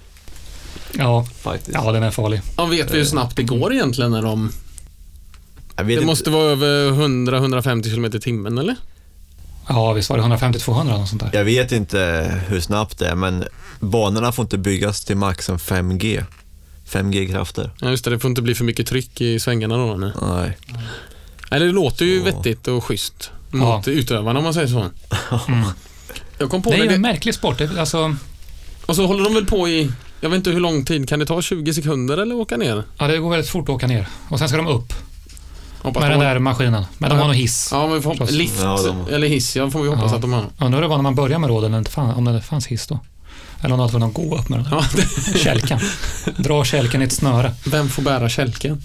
Speaker 1: Ja,
Speaker 3: Faktiskt.
Speaker 1: ja den är farlig.
Speaker 2: Ja, vet vi hur snabbt det går egentligen när de...
Speaker 3: Jag vet
Speaker 2: Det
Speaker 3: inte-
Speaker 2: måste vara över 100-150 km i timmen eller?
Speaker 1: Ja, visst var det 150-200 något sånt där.
Speaker 3: Jag vet inte hur snabbt det är, men banorna får inte byggas till max en 5G. 5G-krafter.
Speaker 2: Ja, just det. Det får inte bli för mycket tryck i svängarna då. Nej.
Speaker 3: Nej.
Speaker 2: Nej, det låter ju
Speaker 3: Så.
Speaker 2: vettigt och schysst
Speaker 1: Ja.
Speaker 2: mot utövarna om man säger så.
Speaker 1: Mm.
Speaker 2: Jag kom på
Speaker 1: Det är
Speaker 2: det,
Speaker 1: ju en
Speaker 2: det,
Speaker 1: märklig sport. Det- Alltså,
Speaker 2: och så håller de väl på i, jag vet inte hur lång tid, kan det ta 20 sekunder eller åka ner?
Speaker 1: ja, det går väldigt fort att åka ner. Och sen ska de upp
Speaker 2: Hoppas
Speaker 1: med
Speaker 2: de
Speaker 1: den
Speaker 2: har-
Speaker 1: där maskinen. Men de har nog hiss.
Speaker 2: Ja, men vi får hoppas,
Speaker 1: Förstås.
Speaker 2: lift
Speaker 3: Ja, de-
Speaker 2: eller hiss, jag får vi hoppas
Speaker 1: Ja.
Speaker 2: att de har.
Speaker 1: Undrar hur det var när man började med råden, om det inte fann- om det fanns hiss då. Eller om de var tvungna att gå upp med den
Speaker 2: Ja, det,
Speaker 1: där [LAUGHS] kälkan. Dra kälkan i ett snöre.
Speaker 2: vem får bära kälken?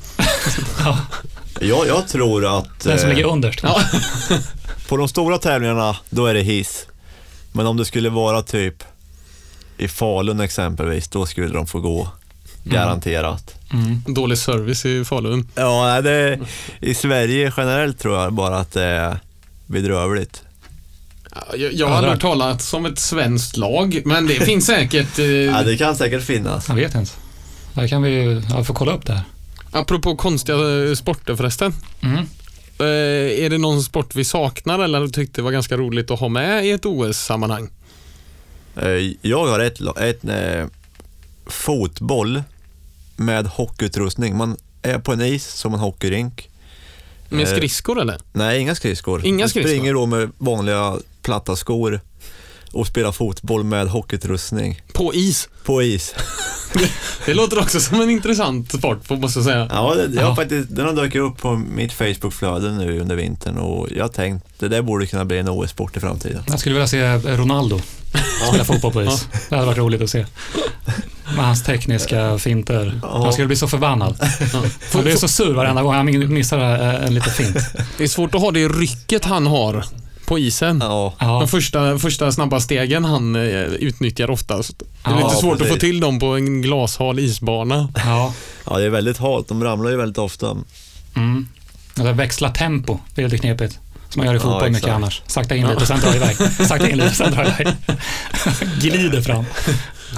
Speaker 3: Jag, jag tror att
Speaker 1: Den som
Speaker 3: eh,
Speaker 1: ligger underst.
Speaker 2: Ja.
Speaker 3: på de stora tävlingarna, då är det hiss. Men om det skulle vara typ i Falun exempelvis, då skulle de få gå. Garanterat.
Speaker 1: Mm.
Speaker 2: Dålig service i Falun.
Speaker 3: Ja, nej, det, i Sverige generellt tror jag bara att det är bedrövligt.
Speaker 2: Ja, Jag, jag har
Speaker 1: Ja,
Speaker 2: aldrig hört talat som ett svenskt lag, men det finns säkert. Eh,
Speaker 3: [LAUGHS] Ja, det kan säkert finnas.
Speaker 1: Jag vet inte. Där kan vi ju, ja, vi får kolla upp det här.
Speaker 2: Apropå konstiga eh, sporter förresten.
Speaker 1: Mm.
Speaker 2: Eh, är det någon sport vi saknar eller du tyckte var ganska roligt att ha med i ett OS-sammanhang?
Speaker 3: Eh, Jag har ett, la- ett eh, fotboll med hockeyutrustning. Man är på en is som en hockeyrink.
Speaker 2: Med
Speaker 3: Eh,
Speaker 2: skridskor eller?
Speaker 3: Nej, inga skridskor.
Speaker 2: Inga
Speaker 3: Man
Speaker 2: skridskor?
Speaker 3: springer då med vanliga platta skor och spelar fotboll med hockeyutrustning
Speaker 2: På is.
Speaker 3: på is.
Speaker 2: Det låter också som en intressant sport, får- måste jag säga.
Speaker 3: [LAUGHS] Ja, det, jag
Speaker 1: Ja.
Speaker 3: har faktiskt, den har dök upp på mitt Facebookflöde nu under vintern och jag har tänkt, det där borde kunna bli en OS-sport i framtiden.
Speaker 1: Jag skulle vilja se Ronaldo spela fotboll på is. Det hade varit roligt att se. Med hans tekniska finter.
Speaker 3: Ja.
Speaker 1: Han skulle bli så förbannad. Han blir så sur varenda gång han missar eh, en liten fint.
Speaker 2: Det är svårt att ha det rycket han har på isen.
Speaker 3: Ja,
Speaker 1: Ja,
Speaker 2: De första, första snabba stegen han eh, utnyttjar oftast. Det är
Speaker 1: Ja,
Speaker 2: lite svårt att
Speaker 3: precis.
Speaker 2: få till dem på en glashal isbana.
Speaker 1: ja.
Speaker 3: ja det är väldigt halt, de ramlar ju väldigt ofta.
Speaker 1: Mm. Alltså växla tempo, det är lite knepigt. Som man gör i
Speaker 3: Ja,
Speaker 1: fotboll mycket
Speaker 3: exakt.
Speaker 1: annars. Sakta in lite, sen dra
Speaker 2: [LAUGHS]
Speaker 1: iväg. Sakta in lite, sen dra iväg. [LAUGHS] Glider fram.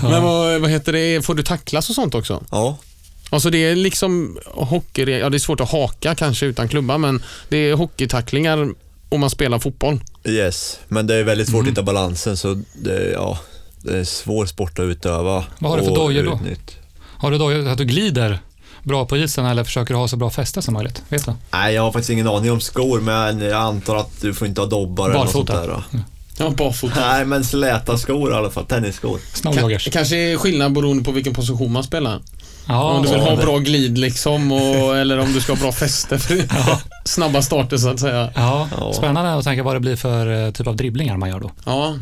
Speaker 1: Ja.
Speaker 2: Men vad, vad heter det, får du tacklas och sånt också?
Speaker 3: Ja,
Speaker 2: Alltså det är liksom hockey, ja det är svårt att haka kanske utan klubba men det är hockeytacklingar om man spelar fotboll.
Speaker 3: yes. Men det är väldigt
Speaker 1: Mm.
Speaker 3: svårt att hitta balansen så det, ja, det är en svår sport att utöva.
Speaker 1: Vad har du för
Speaker 3: och
Speaker 1: dojor då?
Speaker 3: utnyttja.
Speaker 1: Har du då att du glider bra på isen eller försöker ha så bra fäste som möjligt? Vet du?
Speaker 3: Nej, jag har faktiskt ingen aning om skor, men jag antar att du får inte ha dobbar eller något sånt
Speaker 1: Barfota.
Speaker 3: där. Då.
Speaker 2: Ja, barfota.
Speaker 3: Nej, men släta skor i alla fall. Tennisskor.
Speaker 1: Snowjoggers.
Speaker 2: kanske är skillnad beroende på vilken position man spelar. om
Speaker 1: Ja,
Speaker 2: du vill
Speaker 1: så-
Speaker 2: ha
Speaker 3: det-
Speaker 2: bra glid liksom och, eller om du ska ha bra fäste för [LAUGHS] snabba starter så att säga.
Speaker 1: ja.
Speaker 3: Ja.
Speaker 1: Spännande att tänka vad det blir för eh, typ av dribblingar man gör då.
Speaker 2: Ja,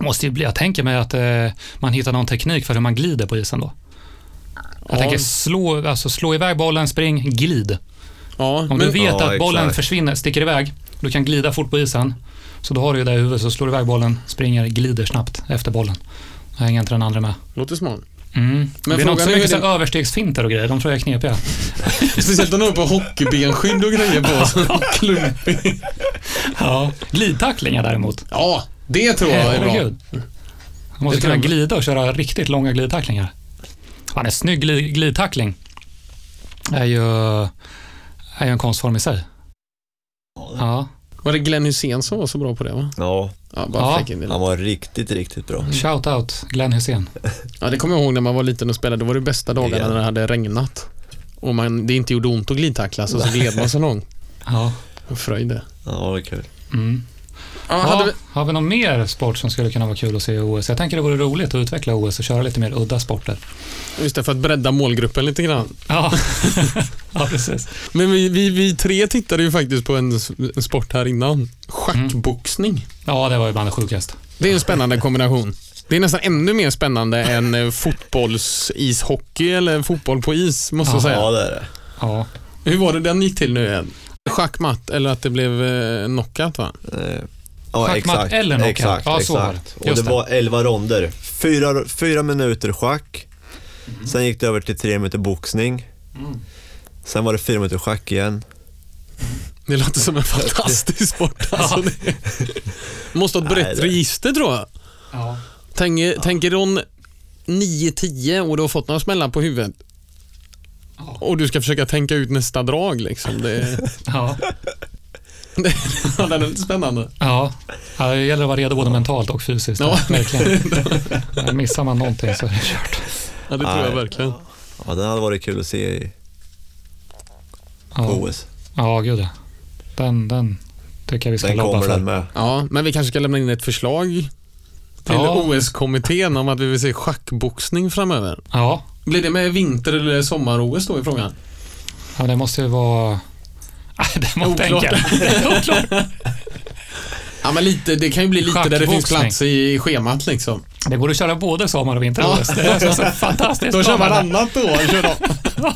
Speaker 1: Måste ju bli, jag tänker mig att eh, man hittar någon teknik för hur man glider på isen då. Jag
Speaker 2: Ja.
Speaker 1: tänker slå, alltså slå iväg bollen, spring, glid.
Speaker 2: ja.
Speaker 1: Om
Speaker 2: men
Speaker 1: du vet
Speaker 3: Ja,
Speaker 1: att bollen
Speaker 3: exakt.
Speaker 1: försvinner, sticker iväg, du kan glida fort på isen. Så då har du ju det i huvudet, så slår du iväg bollen, springer, glider snabbt efter bollen. Då hänger inte den andra med.
Speaker 2: låter smart.
Speaker 1: Mm. Men det är
Speaker 2: frågan
Speaker 1: nog så
Speaker 2: är
Speaker 1: mycket
Speaker 2: ju
Speaker 1: så här överstegsfinter och grejer, de tror jag är knepiga.
Speaker 2: Speciellt om du har på hockeybenskydd och grejer på så
Speaker 1: [LAUGHS]
Speaker 2: klumpig.
Speaker 1: Ja. Glidtacklingar däremot.
Speaker 2: Ja, det tror jag är bra.
Speaker 1: Herregud. Man måste
Speaker 2: Det tror
Speaker 1: kunna
Speaker 2: jag.
Speaker 1: glida och köra riktigt långa glidtacklingar. Fan, en snygg gli- glidtackling är ju, är ju en konstform i sig. Ja.
Speaker 2: Var det Glenn Hysén som var så bra på det va?
Speaker 3: Ja,
Speaker 2: Ja,
Speaker 1: Ja.
Speaker 2: bara ja.
Speaker 3: han var riktigt, riktigt bra.
Speaker 1: Shout out Glenn Hussein.
Speaker 2: ja, det kommer jag ihåg när man var liten och spelade. Det var de bästa dagarna
Speaker 3: Ja.
Speaker 2: när det hade regnat. Och man, det inte gjorde ont att glidtacklas och så gled man så långt.
Speaker 1: Ja.
Speaker 2: Fröjd det.
Speaker 3: Ja, det var kul.
Speaker 1: Mm.
Speaker 2: Ja,
Speaker 1: Ja,
Speaker 2: hade vi...
Speaker 1: Har vi någon mer sport som skulle kunna vara kul att se i OS? Jag tänker det vore roligt att utveckla OS och köra lite mer udda sporter.
Speaker 2: Just det, för att bredda målgruppen lite grann.
Speaker 1: Ja, [LAUGHS] ja precis.
Speaker 2: Men vi, vi, vi tre tittade ju faktiskt på en, s- en sport här innan. Schackboxning.
Speaker 1: Ja, det var ju bland det sjukaste.
Speaker 2: Det är en spännande kombination. Det är nästan ännu mer spännande än eh, fotbolls-ishockey eller fotboll på is, måste jag
Speaker 1: Ja.
Speaker 2: säga.
Speaker 3: Ja, det är det.
Speaker 1: Ja,
Speaker 2: Hur var det den gick till nu igen? Schackmatt, eller att det blev eh, knockout va?
Speaker 3: Eh, Ja,
Speaker 1: Schackmatt
Speaker 3: exakt.
Speaker 1: eller knockout.
Speaker 3: Exakt,
Speaker 1: Ja, så var det.
Speaker 3: exakt. Och
Speaker 1: Just
Speaker 3: det
Speaker 1: det.
Speaker 3: var elva ronder. Fyra, fyra minuter schack.
Speaker 1: Mm.
Speaker 3: Sen gick det över till tre minuter boxning. Sen var det fyra minuter schack igen.
Speaker 2: Det låter [LAUGHS] som en fantastisk sport alltså. Det måste ha ett
Speaker 3: Nej,
Speaker 2: brett
Speaker 3: det-
Speaker 2: register tror jag.
Speaker 1: ja.
Speaker 2: Tänk, eh, Tänker hon 9-10 och du har fått några smällar på huvudet och du ska försöka tänka ut nästa drag liksom. Det, [LAUGHS]
Speaker 1: ja.
Speaker 2: det, ja, det är lite spännande.
Speaker 1: ja. ja det gäller att vara redo både mentalt och fysiskt.
Speaker 2: Ja. [LAUGHS]
Speaker 1: Verkligen. Ja, Missar man någonting så är det kört.
Speaker 2: Ja, det tror jag
Speaker 3: Nej.
Speaker 2: verkligen.
Speaker 3: Ja, den hade varit kul att se i
Speaker 1: Ja,
Speaker 3: OS.
Speaker 1: ja gud ja. Den, den tycker jag vi ska
Speaker 3: Den
Speaker 1: lobba
Speaker 3: kommer
Speaker 1: för.
Speaker 3: den med.
Speaker 2: Ja, men vi kanske ska lämna in ett förslag till
Speaker 1: Ja.
Speaker 2: OS-kommittén om att vi vill se schackboxning framöver.
Speaker 1: Ja.
Speaker 2: Blir det med vinter eller sommar-OS då i frågan?
Speaker 1: ja, det måste ju vara... Ah, Det måste
Speaker 2: Oklart.
Speaker 1: tänka.
Speaker 2: [LAUGHS]
Speaker 1: Det är oklart.
Speaker 2: Ja, men lite, det kan ju bli lite där det finns
Speaker 1: Schackboxning.
Speaker 2: plats i, i schemat liksom.
Speaker 1: Det borde köra både sommar och
Speaker 2: Ja.
Speaker 1: vinter-OS. Det
Speaker 2: [LAUGHS]
Speaker 1: är så fantastiskt.
Speaker 2: Då kör
Speaker 1: bra.
Speaker 2: man annat då. Kör då.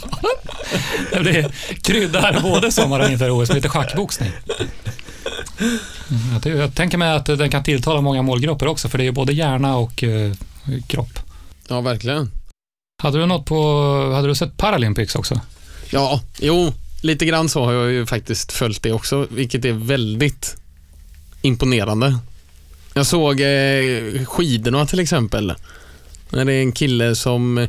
Speaker 1: [LAUGHS] Det blir kryddar både sommar och vinter-OS med lite schackboxning. Mm, jag tror- Jag tänker mig att den kan tilltala många målgrupper också, för det är ju både hjärna och eh, kropp.
Speaker 2: Ja, verkligen.
Speaker 1: Hade du något på, hade du sett Paralympics också?
Speaker 2: Ja, jo, lite grann så har jag ju faktiskt följt det också, vilket är väldigt imponerande. Jag såg eh, skidorna till exempel. När det är en kille som,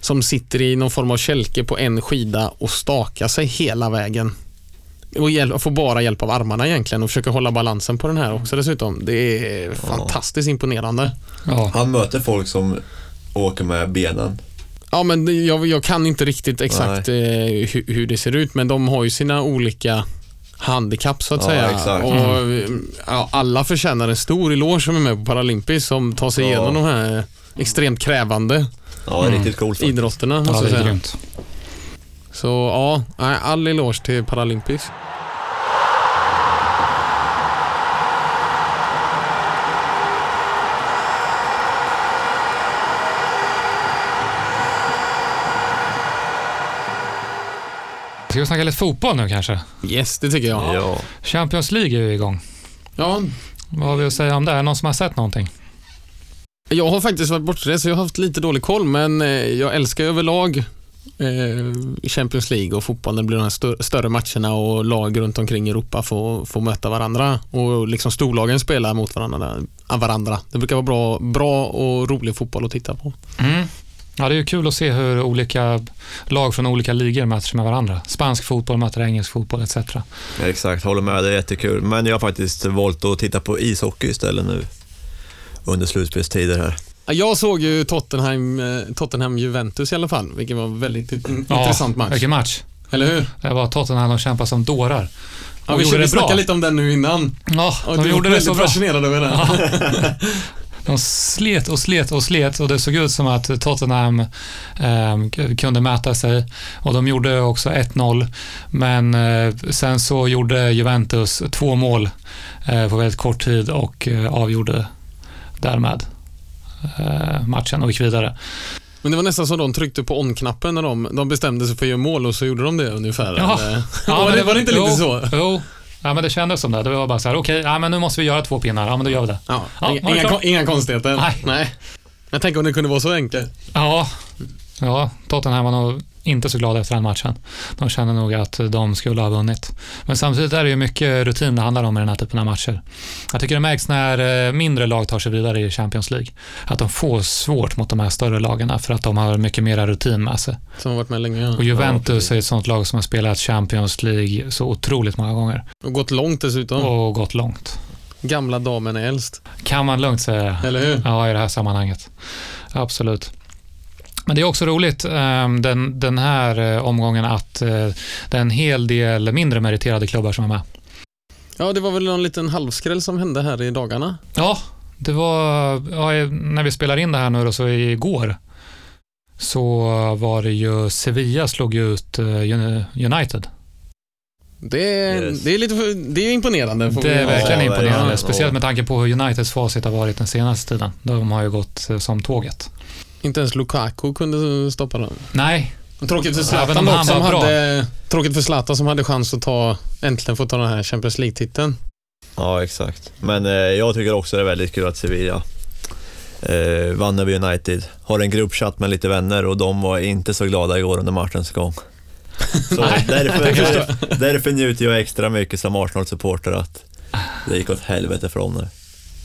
Speaker 2: som sitter i någon form av kälke på en skida och stakar sig hela vägen. Och hjäl- och får bara hjälp av armarna egentligen och försöker hålla balansen på den här också dessutom. Det är fantastiskt imponerande.
Speaker 1: Ja,
Speaker 3: Han möter folk som åker med benen.
Speaker 2: Ja, men det- jag, jag kan inte riktigt exakt eh, hu, hur det ser ut, men de har ju sina olika handikapp så att
Speaker 3: Ja,
Speaker 2: säga.
Speaker 3: exakt. Mm.
Speaker 2: Och, ja, alla förtjänar en stor eloge som är med på Paralympics som tar sig
Speaker 3: Ja.
Speaker 2: igenom de här extremt krävande
Speaker 3: Ja,
Speaker 1: Mm.
Speaker 3: riktigt coolt. faktiskt.
Speaker 2: idrotterna. Måste
Speaker 1: Ja,
Speaker 2: jag
Speaker 1: det är
Speaker 2: säga.
Speaker 1: grymt.
Speaker 2: Så ja, nej, all eloge till Paralympics.
Speaker 1: Ska vi snacka lite fotboll nu kanske?
Speaker 2: Yes, det tycker jag. Ja,
Speaker 3: Ja.
Speaker 1: Champions League är ju igång. Vad har vi att säga om det? Är det någon som har sett någonting?
Speaker 2: jag har faktiskt varit bortrest så jag har haft lite dålig koll, men eh, jag älskar överlag eh, Champions League och fotbollen blir de här stö- större matcherna och lag runt omkring i Europa får, får möta varandra och liksom storlagen spelar mot varandra. eh, varandra. Det brukar vara bra, bra och rolig fotboll att titta på.
Speaker 1: Mm. Ja, det är ju kul att se hur olika lag från olika ligor möter sig med varandra. Spansk fotboll möter engelsk fotboll etc.
Speaker 3: Exakt, håller med. Det är jättekul. Men jag har faktiskt valt att titta på ishockey istället nu under slutspelstider här.
Speaker 2: Ja, Jag såg ju Tottenham, eh, Tottenham Juventus i alla fall, vilket var en väldigt in- intressant
Speaker 1: Mm, ja,
Speaker 2: match.
Speaker 1: Vilken match.
Speaker 2: Eller hur?
Speaker 1: Det var Tottenham och kämpade som dårar.
Speaker 2: Ja,
Speaker 1: Och
Speaker 2: vi
Speaker 1: gjorde
Speaker 2: vi
Speaker 1: det bra.
Speaker 2: snackade lite om den nu innan.
Speaker 1: Ja,
Speaker 2: Och
Speaker 1: de
Speaker 2: du
Speaker 1: gjorde
Speaker 2: var
Speaker 1: det så
Speaker 2: väldigt
Speaker 1: bra.
Speaker 2: fascinerad
Speaker 1: [LAUGHS]
Speaker 2: över den.
Speaker 1: Ja. De slet och slet och slet och det såg ut som att Tottenham eh, k- kunde mäta sig och de gjorde också 1-0 men eh, sen så gjorde Juventus två mål eh, på väldigt kort tid och eh, avgjorde därmed eh, matchen och gick [LAUGHS] vidare.
Speaker 2: Men det var nästan som de tryckte på on-knappen när de, de bestämde sig för att göra mål och så gjorde de det ungefär.
Speaker 1: Ja.
Speaker 2: [LAUGHS] Eller- var, det, var det inte
Speaker 1: jo,
Speaker 2: lite så?
Speaker 1: Jo, ja, men det kändes som det. Det var bara så här, okej, ja, men nu måste vi göra två pinnar. Ja, men då gör vi det.
Speaker 2: Ja,
Speaker 1: Ja,
Speaker 2: inga,
Speaker 1: var det
Speaker 2: inga,
Speaker 1: klart?
Speaker 2: kon- inga konstigheter.
Speaker 1: Nej.
Speaker 2: Jag tänker om det kunde vara så enkelt.
Speaker 1: Ja, ja Tottenham var nog inte så glada efter den matchen. De kände nog att de skulle ha vunnit. Men samtidigt är det ju mycket rutin det handlar om i den här typen av matcher. Jag tycker det märks när eh, mindre lag tar sig vidare i Champions League. Att de får svårt mot de här större lagarna för att de har mycket mera rutin med sig.
Speaker 2: Som har varit med länge.
Speaker 1: Och
Speaker 2: ja.
Speaker 1: Juventus
Speaker 3: Ja,
Speaker 1: är ett sånt lag som har spelat Champions League så otroligt många gånger
Speaker 2: Och gått långt dessutom.
Speaker 1: och gått långt.
Speaker 2: Gamla damen är äldst.
Speaker 1: Kan man lugnt säga.
Speaker 2: Eller hur?
Speaker 1: Ja, i det här sammanhanget. Absolut. Men det är också roligt ehm, den, den här eh, omgången att eh, det är en hel del mindre meriterade klubbar som är med.
Speaker 2: Ja, det var väl någon liten halvskräll som hände här i dagarna.
Speaker 1: Ja, det var ja, eh, när vi spelar in det här nu då, så igår så var det ju Sevilla slog ju ut eh, Uni- United.
Speaker 2: Det,
Speaker 3: Yes.
Speaker 2: det är lite för, det är imponerande. får
Speaker 1: Det
Speaker 2: vi
Speaker 1: är
Speaker 2: säga.
Speaker 1: verkligen
Speaker 3: Ja,
Speaker 1: imponerande,
Speaker 3: verkligen.
Speaker 1: speciellt med tanke på hur Uniteds facit har varit den senaste tiden. De har ju gått eh, som tåget.
Speaker 2: Inte ens Lukaku kunde stoppa dem.
Speaker 1: Nej,
Speaker 2: Tråkigt för
Speaker 1: Även
Speaker 2: Zlatan
Speaker 1: om
Speaker 2: dock,
Speaker 1: han
Speaker 2: som
Speaker 1: var bra.
Speaker 2: hade, tråkigt för Zlatan som hade chans att ta, äntligen få ta den här Champions League-titeln.
Speaker 3: Ja, exakt. Men eh, jag tycker också det är väldigt kul att Sevilla eh, vann över United. Har en gruppchatt med lite vänner och de var inte så glada igår under matchens gång. Så
Speaker 1: Nej,
Speaker 3: därför,
Speaker 1: jag förstår.
Speaker 3: därför, därför njuter jag extra mycket som Arsenal-supporter att det gick åt helvete för dem nu.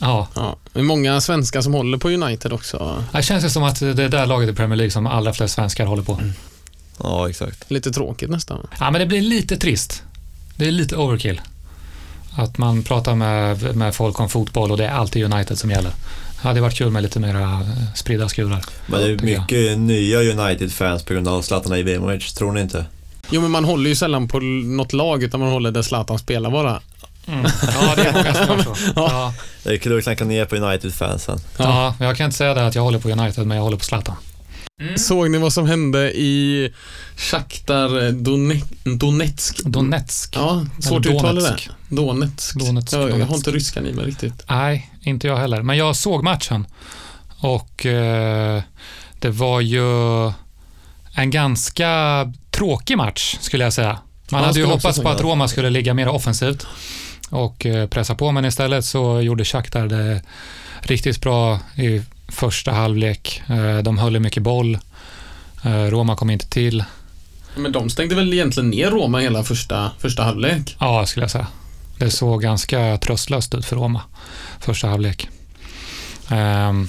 Speaker 1: ja.
Speaker 2: Ja, det är många svenskar som håller på United också.
Speaker 1: Det känns ju som att det är där laget i Premier League som allra flest svenskar håller på.
Speaker 3: Ja, exakt.
Speaker 2: Lite tråkigt nästan.
Speaker 1: Ja, men det blir lite trist. Det är lite overkill. Att man pratar med, med folk om fotboll och det är alltid United som gäller. Det hade varit kul med lite mera eh, spridda skurar.
Speaker 3: Men det är
Speaker 1: tycker jag.
Speaker 3: mycket nya United-fans på grund av Zlatan Ibrahimovic, tror ni inte?
Speaker 2: Jo, men man håller ju sällan på l- något lag utan man håller där Zlatan spelar bara.
Speaker 1: Mm. Ja, det är många som gör så. Ja.
Speaker 3: Det är kul att knacka ner på United-fansen.
Speaker 1: Ja, jag kan inte säga det att jag håller på United, men jag håller på Zlatan.
Speaker 2: Såg ni vad som hände i Shakhtar Done- Donetsk?
Speaker 1: Donetsk.
Speaker 2: Ja, svårt
Speaker 1: Eller
Speaker 2: uttal det
Speaker 1: Donetsk.
Speaker 2: där. Donetsk.
Speaker 1: Donetsk,
Speaker 2: Ja, jag har
Speaker 1: Donetsk.
Speaker 2: inte ryskan i mig riktigt.
Speaker 1: Nej, inte jag heller. Men jag såg matchen och eh, det var ju en ganska tråkig match skulle jag säga. Man hade
Speaker 2: Ja,
Speaker 1: ju
Speaker 2: skulle jag också
Speaker 1: hoppats på
Speaker 2: säga.
Speaker 1: att Roma skulle ligga mer offensivt och eh, pressa på, men istället så gjorde Shakhtar det riktigt bra i första halvlek. Eh, de höll i mycket boll. Eh, Roma kom inte till.
Speaker 2: Men de stängde väl egentligen ner Roma hela första, första halvlek.
Speaker 1: Ja, skulle jag säga. Det såg ganska tröstlöst ut för Roma första halvlek. Ehm,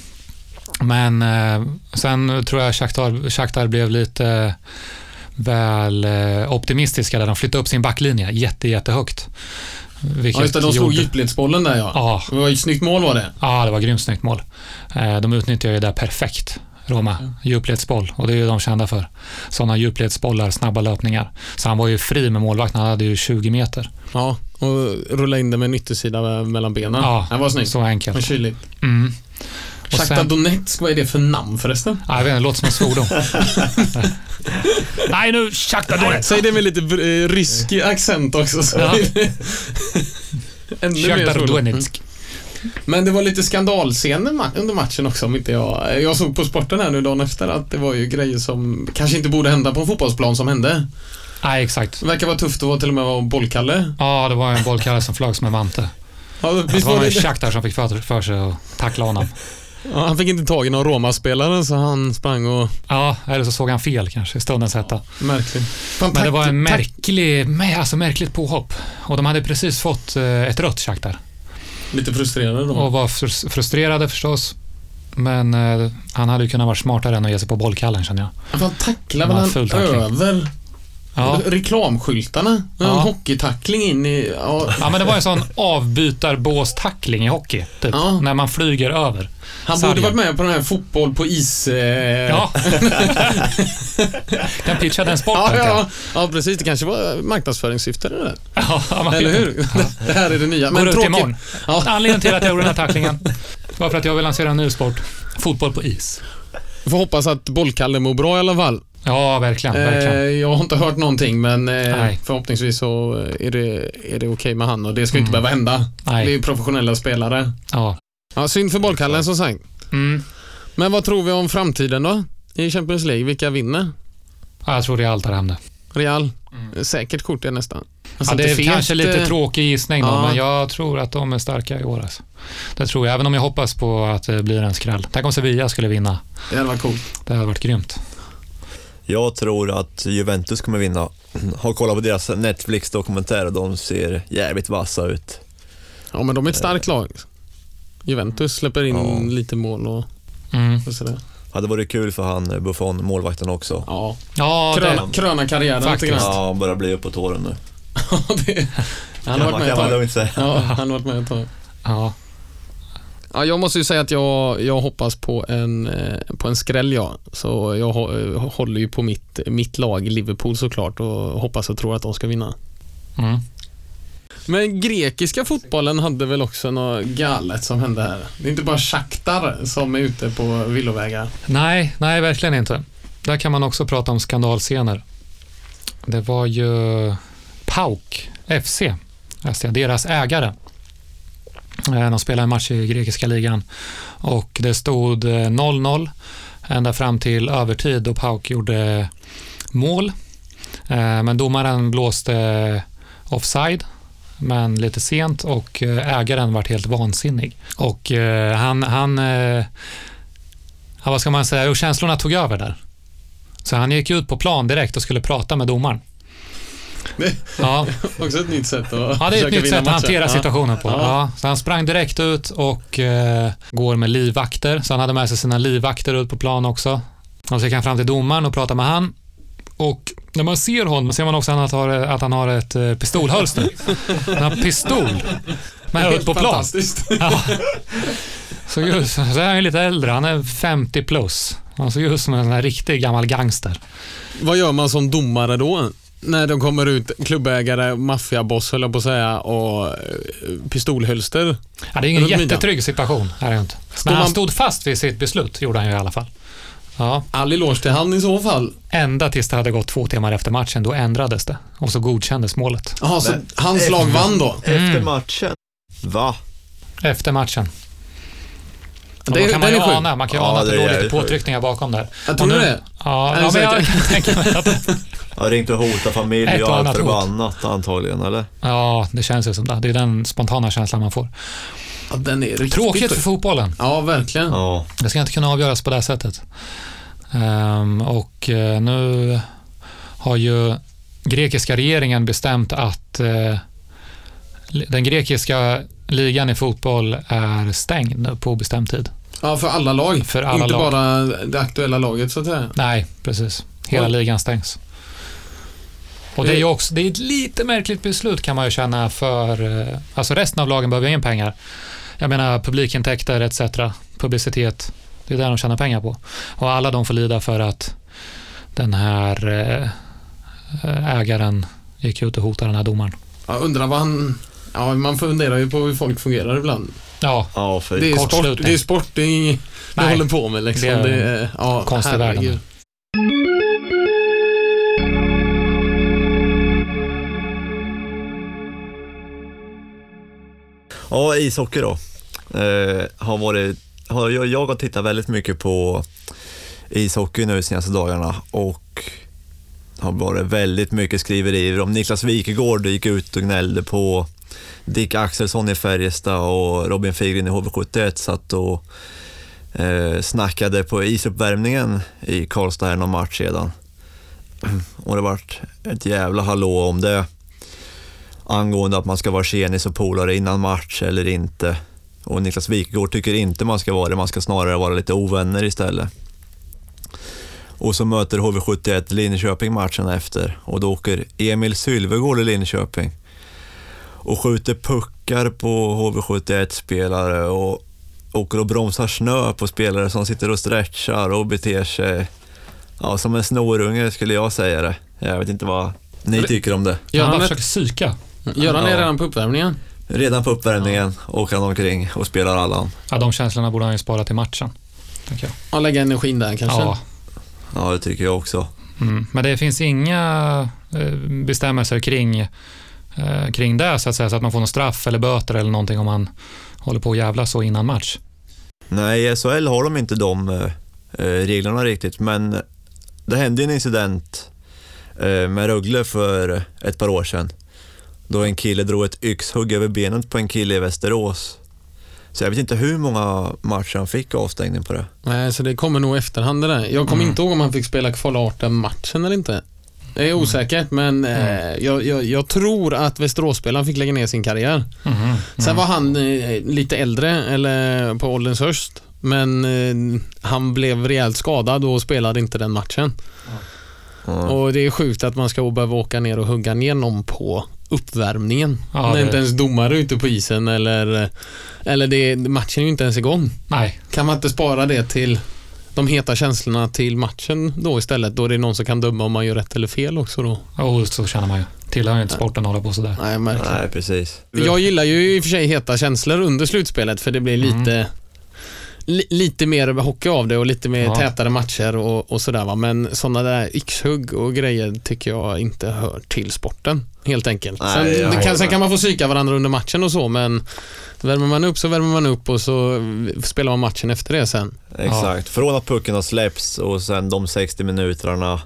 Speaker 1: men eh, sen tror jag Shakhtar, Shakhtar blev lite väl eh, optimistiska där de flyttade upp sin backlinje jätte, jättehögt. Vilket
Speaker 2: Ja, just det, de slog
Speaker 1: gjorde-
Speaker 2: djupledsbollen där ja.
Speaker 1: Ja,
Speaker 2: Det var ju ett snyggt mål var det.
Speaker 1: ja, det var grymt snyggt mål. Eh, de utnyttjade ju det perfekt. Roma,
Speaker 2: Mm.
Speaker 1: djupledsboll och det är ju de kända för. Sådana djupledsbollar, snabba löpningar. Så han var ju fri med målvakten, han hade ju 20 meter.
Speaker 2: Ja, och rulla in den med en yttersida mellan benen.
Speaker 1: Ja,
Speaker 2: den var snygg.
Speaker 1: Så
Speaker 2: Och
Speaker 1: enkelt.
Speaker 2: kylig.
Speaker 1: Mm. Och
Speaker 2: Shakhtar
Speaker 1: sen-
Speaker 2: Donetsk, vad är det för namn förresten?
Speaker 1: Ja, Jag vet inte, det låter som en
Speaker 2: [LAUGHS]
Speaker 1: svordom. Nej nu, Shakhtar Donetsk!
Speaker 2: Säg det med lite eh, rysk accent också. Så
Speaker 1: Ja.
Speaker 2: [LAUGHS] Ännu mer Mm.
Speaker 1: Shakhtar
Speaker 2: roligt.
Speaker 1: Donetsk.
Speaker 2: Men det var lite skandalscener ma- under matchen också om inte jag... Jag såg på sporten här nu dagen efter att det var ju grejer som kanske inte borde hända på en fotbollsplan som hände.
Speaker 1: Nej, exakt.
Speaker 2: Det verkar vara tufft att vara till och med vara bollkalle.
Speaker 1: Ja, det var en bollkarre som flög som en vante.
Speaker 2: Ja,
Speaker 1: Det
Speaker 2: visst var
Speaker 1: var en
Speaker 2: det,
Speaker 1: Shakhtar som fick för, för sig att tackla honom.
Speaker 2: ja, han fick inte tag i någon Roma-spelare så han sprang och...
Speaker 1: Ja, eller så såg han fel kanske i stundens hetta.
Speaker 2: Märkligt. Fan,
Speaker 1: Men det
Speaker 2: tack-
Speaker 1: var en
Speaker 2: tack-
Speaker 1: märklig, mä- alltså märkligt påhopp. Och de hade precis fått eh, ett rött Shakhtar
Speaker 2: Lite frustrerande då.
Speaker 1: och var frus- frustrerade förstås. Men eh, han hade ju kunnat vara smartare än att ge sig på bollkallen känner jag.
Speaker 2: Han tacklar
Speaker 1: Det var en
Speaker 2: väl
Speaker 1: full
Speaker 2: han
Speaker 1: tackling.
Speaker 2: över
Speaker 1: Ja.
Speaker 2: reklamskyltarna? Ja. En
Speaker 1: Ja.
Speaker 2: hockeytackling in i... Ja,
Speaker 1: ja, men det var en sån avbytarbåstackling i hockey. Typ,
Speaker 2: Ja.
Speaker 1: När man flyger över.
Speaker 2: han
Speaker 1: Sargen.
Speaker 2: borde varit med på den här fotboll på is... Eh...
Speaker 1: Ja. kan pitcha den
Speaker 2: Ja,
Speaker 1: sporten.
Speaker 2: ja, ja, precis. Det kanske var marknadsföringssyfte det där.
Speaker 1: kan. ja man-
Speaker 2: Eller hur? [LAUGHS] Det här är det nya.
Speaker 1: Går
Speaker 2: Men
Speaker 1: ut
Speaker 2: tråkigt.
Speaker 1: imorgon.
Speaker 2: Ja.
Speaker 1: Anledningen till att jag gjorde den här tacklingen var för att jag vill lansera en ny sport. Fotboll på is.
Speaker 2: Vi får hoppas att bollkalle mår bra i alla fall.
Speaker 1: Ja, verkligen.
Speaker 2: eh,
Speaker 1: verkligen.
Speaker 2: jag har inte hört någonting, men eh,
Speaker 1: Nej.
Speaker 2: förhoppningsvis så eh, är det, är det okej med han och det ska ju inte behöva hända. Det är
Speaker 1: Mm. Nej.
Speaker 2: ju professionella spelare.
Speaker 1: Ja.
Speaker 2: Ja, synd för bollkallen som sagt.
Speaker 1: Mm.
Speaker 2: Men vad tror vi om framtiden då? I Champions League, vilka vinner?
Speaker 1: Ja, jag tror det är allt där hemma.
Speaker 2: Real? Säkert kort är nästan.
Speaker 1: Mm. Ja,
Speaker 2: Alltså,
Speaker 1: det är
Speaker 2: inte fet,
Speaker 1: kanske lite
Speaker 2: eh,
Speaker 1: tråkig gissning då,
Speaker 2: ja.
Speaker 1: men jag tror att de är starka i år. Alltså. Det tror jag, även om jag hoppas på att det blir en skräll. Tänk om Sevilla skulle vinna.
Speaker 2: Det hade varit coolt.
Speaker 1: Det hade varit grymt.
Speaker 3: Jag tror att Juventus kommer vinna. Har kollat på deras Netflix-dokumentär och de ser jävligt vassa ut.
Speaker 2: Ja, men de
Speaker 1: Eh.
Speaker 2: är ett starkt lag. Juventus släpper in
Speaker 3: Ja.
Speaker 2: lite mål och,
Speaker 1: Mm.
Speaker 2: och sådär.
Speaker 3: Hade varit kul för han eh, Buffon, målvakten också.
Speaker 2: Ja.
Speaker 1: Ja, det,
Speaker 2: Kröna, kröna karriären
Speaker 1: Faktiskt.
Speaker 2: lite grann.
Speaker 3: Ja, han börjar bli uppåt åren nu.
Speaker 2: [LAUGHS] Ja, det- han har varit med ett
Speaker 3: kan man
Speaker 2: tag.
Speaker 3: lugnt säga.
Speaker 2: Ja, han har varit med ett tag.
Speaker 1: ja.
Speaker 2: Ja, jag måste ju säga att jag, jag hoppas på en, eh, på en skräll ja. Så jag hå- eh, håller ju på mitt, mitt lag Liverpool såklart och hoppas och tror att de ska vinna.
Speaker 1: Mm.
Speaker 2: Men grekiska fotbollen hade väl också något galet som hände här. Det är inte bara Shakhtar som är ute på villovägar. [LAUGHS]
Speaker 1: Nej, nej, verkligen inte. Där kan man också prata om skandalscener. Det var ju PAOK FC, läste jag, deras ägare. Eh, De spelade en match i grekiska ligan och det stod eh, 0-0 ända fram till övertid då PAOK gjorde mål. Eh, Men domaren blåste offside, men lite sent och eh, ägaren vart helt vansinnig. Och eh, han, han eh, ja, vad ska man säga, och känslorna tog över där. Så han gick ut på plan direkt och skulle prata med
Speaker 2: [LAUGHS]
Speaker 1: domaren.
Speaker 2: Det-
Speaker 1: Ja,
Speaker 2: Också ett nytt sätt att
Speaker 1: ja det är ett
Speaker 2: försöka
Speaker 1: nytt
Speaker 2: vinna
Speaker 1: sätt att
Speaker 2: matcher.
Speaker 1: hantera
Speaker 2: Ja.
Speaker 1: situationen på.
Speaker 2: Ja.
Speaker 1: Ja, så han sprang direkt ut och eh, går med livvakter. Så han hade med sig sina livvakter ut på plan också. Och så gick han fram till domaren och pratade med han. Och när man ser honom ser man också att han har, att han har ett eh, pistolhölster. Han har en pistol med ut
Speaker 2: Helt
Speaker 1: på plan.
Speaker 2: fantastiskt. [LAUGHS]
Speaker 1: Ja. Såg ut, så är han ju lite äldre, han är 50 plus. Han såg ut som en sån här riktig gammal gangster.
Speaker 2: Vad gör man som domare då? När de kommer ut, klubbägare, maffiaboss höll jag på att säga och eh, pistolhölster.
Speaker 1: Ja, det är ingen
Speaker 2: Runt midjan.
Speaker 1: jättetrygg situation. Här är det inte. Men han
Speaker 2: man-
Speaker 1: stod fast vid sitt beslut, gjorde han ju i alla fall. Ja,
Speaker 2: All eloge till han i så fall.
Speaker 1: ända tills det hade gått två timmar efter matchen, då ändrades det och så godkändes målet.
Speaker 2: Jaha, så
Speaker 3: Men-
Speaker 2: hans lag vann då?
Speaker 3: Efter matchen. Va?
Speaker 1: Efter matchen. Och
Speaker 2: Det-
Speaker 1: då kan man
Speaker 2: den
Speaker 1: ju
Speaker 2: är sjuk.
Speaker 1: ana, man kan ju
Speaker 3: Ja,
Speaker 1: ana att det
Speaker 3: det är
Speaker 1: låg lite
Speaker 3: jävligt sjukt.
Speaker 1: påtryckningar bakom där.
Speaker 2: Jag tror
Speaker 1: Och nu-
Speaker 2: det.
Speaker 1: Ja,
Speaker 2: Är
Speaker 1: ja
Speaker 2: du
Speaker 1: men jag
Speaker 2: säker?
Speaker 1: kan tänka mig att
Speaker 2: [LAUGHS]
Speaker 3: Har ringt och hotat
Speaker 1: Ett
Speaker 3: familj
Speaker 1: och
Speaker 3: och allt
Speaker 1: annat hot.
Speaker 3: förbannat antagligen, eller?
Speaker 1: Ja, det känns ju som det. Det är den spontana känslan man får.
Speaker 2: Ja, den är riktigt
Speaker 1: Tråkigt för
Speaker 2: sjuk.
Speaker 1: fotbollen.
Speaker 2: Ja, verkligen.
Speaker 3: Ja.
Speaker 1: Det ska inte kunna avgöras på det här sättet. Ehm, och eh, nu har ju grekiska regeringen bestämt att eh, li- den grekiska ligan i fotboll är stängd nu på obestämd tid.
Speaker 2: Ja, för alla lag.
Speaker 1: För alla
Speaker 2: inte
Speaker 1: lag.
Speaker 2: bara det aktuella laget så att säga.
Speaker 1: Nej, precis. Hela
Speaker 2: Oj.
Speaker 1: ligan stängs. Och det är ju
Speaker 2: Eh.
Speaker 1: också, det är ett lite märkligt beslut kan man ju känna för, eh, alltså resten av lagen behöver ju in pengar. Jag menar publikintäkter etc. Publicitet. Det är det de tjänar pengar på. Och alla de får lida för att den här eh, ägaren gick ut och hotade den här domaren.
Speaker 2: Jag undrar vad han... Ja, man funderar ju på hur folk fungerar ibland.
Speaker 1: Ja,
Speaker 3: Ja, för
Speaker 2: Det är sport,
Speaker 1: Kortslutning.
Speaker 2: det är sport, det är inget vi
Speaker 1: Nej.
Speaker 2: håller på med liksom.
Speaker 1: Det
Speaker 2: Det
Speaker 1: är
Speaker 2: är, ja,
Speaker 1: konstig
Speaker 2: herregud.
Speaker 1: värld.
Speaker 3: Ja, ishockey då. Eh, har varit, har, jag, jag har tittat väldigt mycket på ishockey nu de senaste dagarna och har varit väldigt mycket skriverier om Niklas Wikegård gick ut och gnällde på Dick Axelsson i Färjestad och Robin Figren i HV71 satt och eh, snackade på isuppvärmningen i Karlstad här någon match sedan. [CLEARS THROAT] Och det vart ett jävla hallå om det angående att man ska vara tjenis och polare innan match eller inte. Och Niklas Wikegård tycker inte man ska vara det, man ska snarare vara lite ovänner istället. Och så möter HV71 Linköping matchen efter och då åker Emil Sylvegård i Linköping och skjuter puckar på HV71-spelare och åker och bromsar snö på spelare som sitter och stretchar och beter sig ja, som en snorunge skulle jag säga det. Jag vet inte vad ni tycker om det.
Speaker 1: han bara
Speaker 2: Göran,
Speaker 1: försöker psyka.
Speaker 2: är, Göran är redan på uppvärmningen.
Speaker 3: Redan på uppvärmningen åker han omkring och spelar Allan.
Speaker 1: Ja, de känslorna borde han ju spara till matchen. Tänker jag.
Speaker 2: Ja, lägga energin där kanske.
Speaker 1: Ja,
Speaker 3: Ja, det tycker jag också.
Speaker 1: mm. Men det finns inga eh, bestämmelser kring, eh, kring det, så att säga, så att man får någon straff eller böter eller någonting om man håller på och jävla så innan match.
Speaker 3: Nej, i SHL har de inte de eh, eh, reglerna riktigt, men det hände en incident eh, med Rögle för ett par år sedan. Då en kille drog ett yxhugg över benet på en kille i Västerås. Så jag vet inte hur många matcher han fick avstängning på det.
Speaker 2: Nej, så det kommer nog i efterhand det där. Jag kommer
Speaker 1: Mm.
Speaker 2: inte ihåg om han fick spela kvala 18-matchen eller inte. Det är
Speaker 1: Mm.
Speaker 2: osäkert, men eh, jag, jag, jag tror att Västeråsspelaren fick lägga ner sin karriär.
Speaker 1: Mhm. Mm.
Speaker 2: Sen var han eh, lite äldre, eller på ålderns höst. Men eh, han blev rejält skadad och spelade inte den matchen.
Speaker 3: Ja.
Speaker 2: Och det är sjukt att man ska behöva åka ner och hugga ner någon på uppvärmningen.
Speaker 1: Ja,
Speaker 2: när
Speaker 1: det-
Speaker 2: inte ens domare är ute på isen eller, eller det, matchen är ju inte ens igång.
Speaker 1: Nej,
Speaker 2: Kan man inte spara det till de heta känslorna till matchen då istället? Då är det någon som kan döma om man gör rätt eller fel också då.
Speaker 1: oh, så känner man ju. Tillhör ju inte sporten att hålla på sådär.
Speaker 2: Nej, märkligt.
Speaker 3: Nej, precis.
Speaker 2: Jag gillar ju i och för sig heta känslor under slutspelet för det blir
Speaker 1: Mm.
Speaker 2: lite li, lite mer hockey av det och lite mer
Speaker 1: Ja.
Speaker 2: tätare matcher och, och sådär va. Men sådana där yxhugg och grejer tycker jag inte hör till sporten helt enkelt.
Speaker 3: Nej, jag
Speaker 2: sen, det
Speaker 3: håller
Speaker 2: kan, sen
Speaker 3: med.
Speaker 2: kan man få psyka varandra under matchen och så men värmer man upp så värmer man upp och så eh, spelar man matchen efter det sen.
Speaker 3: Exakt. Från att pucken har släppts och sen de 60 minuterna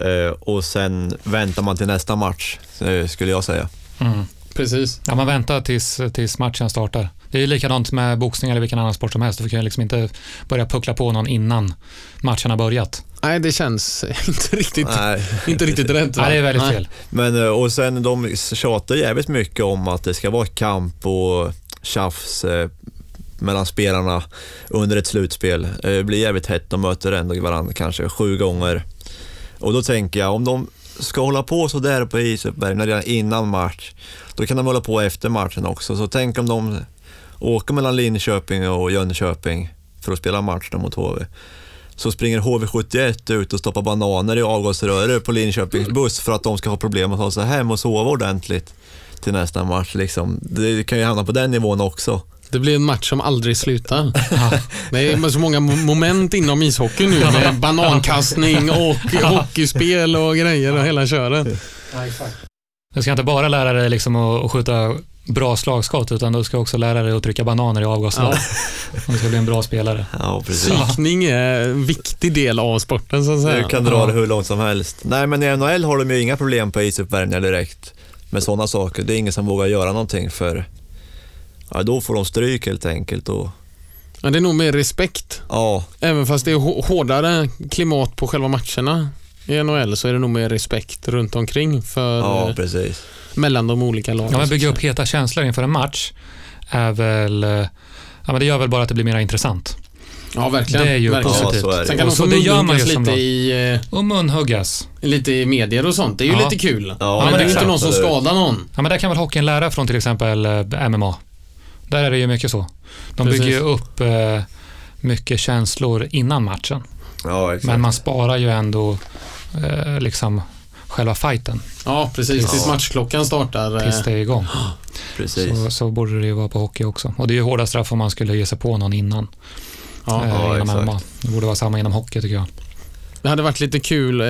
Speaker 3: eh, och sen väntar man till nästa match, eh, skulle jag säga.
Speaker 1: Mm.
Speaker 2: Precis.
Speaker 1: Ja, man väntar tills, tills matchen startar. Det är ju likadant med boxning eller vilken annan sport som helst. Du kan ju liksom inte börja puckla på någon innan matchen har börjat.
Speaker 2: Nej, det känns [LAUGHS] inte riktigt,
Speaker 3: Nej.
Speaker 2: inte riktigt rätt. va?
Speaker 1: Nej, det är väldigt
Speaker 2: Nej.
Speaker 1: fel.
Speaker 3: Men, eh, och sen de tjatar jävligt mycket om att det ska vara kamp och tjafs eh, mellan spelarna under ett slutspel. Eh, Det blir jävligt hett, de möter ändå varandra kanske sju gånger. Och då tänker jag, om de ska hålla på så där på isuppvärmningen redan innan match, då kan de hålla på efter matchen också. Så tänk om de åker mellan Linköping och Jönköping för att spela match då mot HV så springer HV71 ut och stoppar bananer i avgasröret på Linköpings
Speaker 1: Mm.
Speaker 3: buss för att de ska ha problem att ta sig hem och sova ordentligt till nästa match. Liksom. Det kan ju hamna på den nivån också.
Speaker 2: Det blir en match som aldrig slutar.
Speaker 1: Ja.
Speaker 2: Det är så många mo- moment inom ishockey nu med banankastning och hockeyspel och grejer och hela köret.
Speaker 1: Du ska inte bara lära dig liksom att, att skjuta bra slagskott, utan du ska också lära dig att trycka bananer i avgasrör.
Speaker 2: Ja.
Speaker 1: [LAUGHS] Om du ska bli en bra spelare.
Speaker 3: Ja, precis.
Speaker 2: Psykning är en viktig del av sporten så att
Speaker 3: Du
Speaker 2: säga.
Speaker 3: kan dra det hur långt som helst. Nej, men i NHL har de ju inga problem på isuppvärmningar direkt med sådana saker. Det är ingen som vågar göra någonting för ja, då får de stryk helt enkelt. Och,
Speaker 2: Ja, det är nog mer respekt.
Speaker 3: ja,
Speaker 2: Även fast det är hå- hårdare klimat på själva matcherna i NHL så är det nog mer respekt runt omkring för, eh,
Speaker 3: ja, precis.
Speaker 2: mellan de olika lagen.
Speaker 1: Ja, men bygga upp heta känslor inför en match är väl... eh, Ja, men det gör väl bara att det blir mer intressant.
Speaker 2: Ja, verkligen.
Speaker 1: Det är ju
Speaker 2: verkligen.
Speaker 3: Ja,
Speaker 1: positivt.
Speaker 3: så är
Speaker 2: Sen
Speaker 3: det.
Speaker 2: kan
Speaker 1: Och
Speaker 2: de
Speaker 1: så
Speaker 2: få
Speaker 1: det gör man ju
Speaker 2: munhuggas
Speaker 1: som
Speaker 2: lite
Speaker 1: lag.
Speaker 2: i, eh,
Speaker 1: Och munhuggas.
Speaker 2: lite i medier och sånt. Det är ju
Speaker 1: Ja.
Speaker 2: lite kul.
Speaker 3: Ja,
Speaker 2: men,
Speaker 1: men
Speaker 2: det är ju
Speaker 1: exakt,
Speaker 2: inte någon som
Speaker 3: eller hur?
Speaker 2: skadar någon.
Speaker 1: Ja, men där kan väl hockeyn lära från till exempel eh, MMA. Där är det ju mycket så. De
Speaker 2: Precis.
Speaker 1: bygger ju upp eh, mycket känslor innan matchen.
Speaker 3: Ja, exakt.
Speaker 1: Men man sparar ju ändå eh, liksom själva fighten
Speaker 2: Ja, precis. Tills
Speaker 3: Ja.
Speaker 2: matchklockan startar. eh,
Speaker 1: tills det är igång.
Speaker 3: Precis.
Speaker 1: Så, så borde det ju vara på hockey också. Och det är ju hårda straff om man skulle ge sig på någon innan.
Speaker 2: Ja,
Speaker 1: eh,
Speaker 3: ja,
Speaker 1: inom
Speaker 3: exakt.
Speaker 1: MMA. Det borde vara samma inom hockey tycker jag.
Speaker 2: Det hade varit lite kul eh,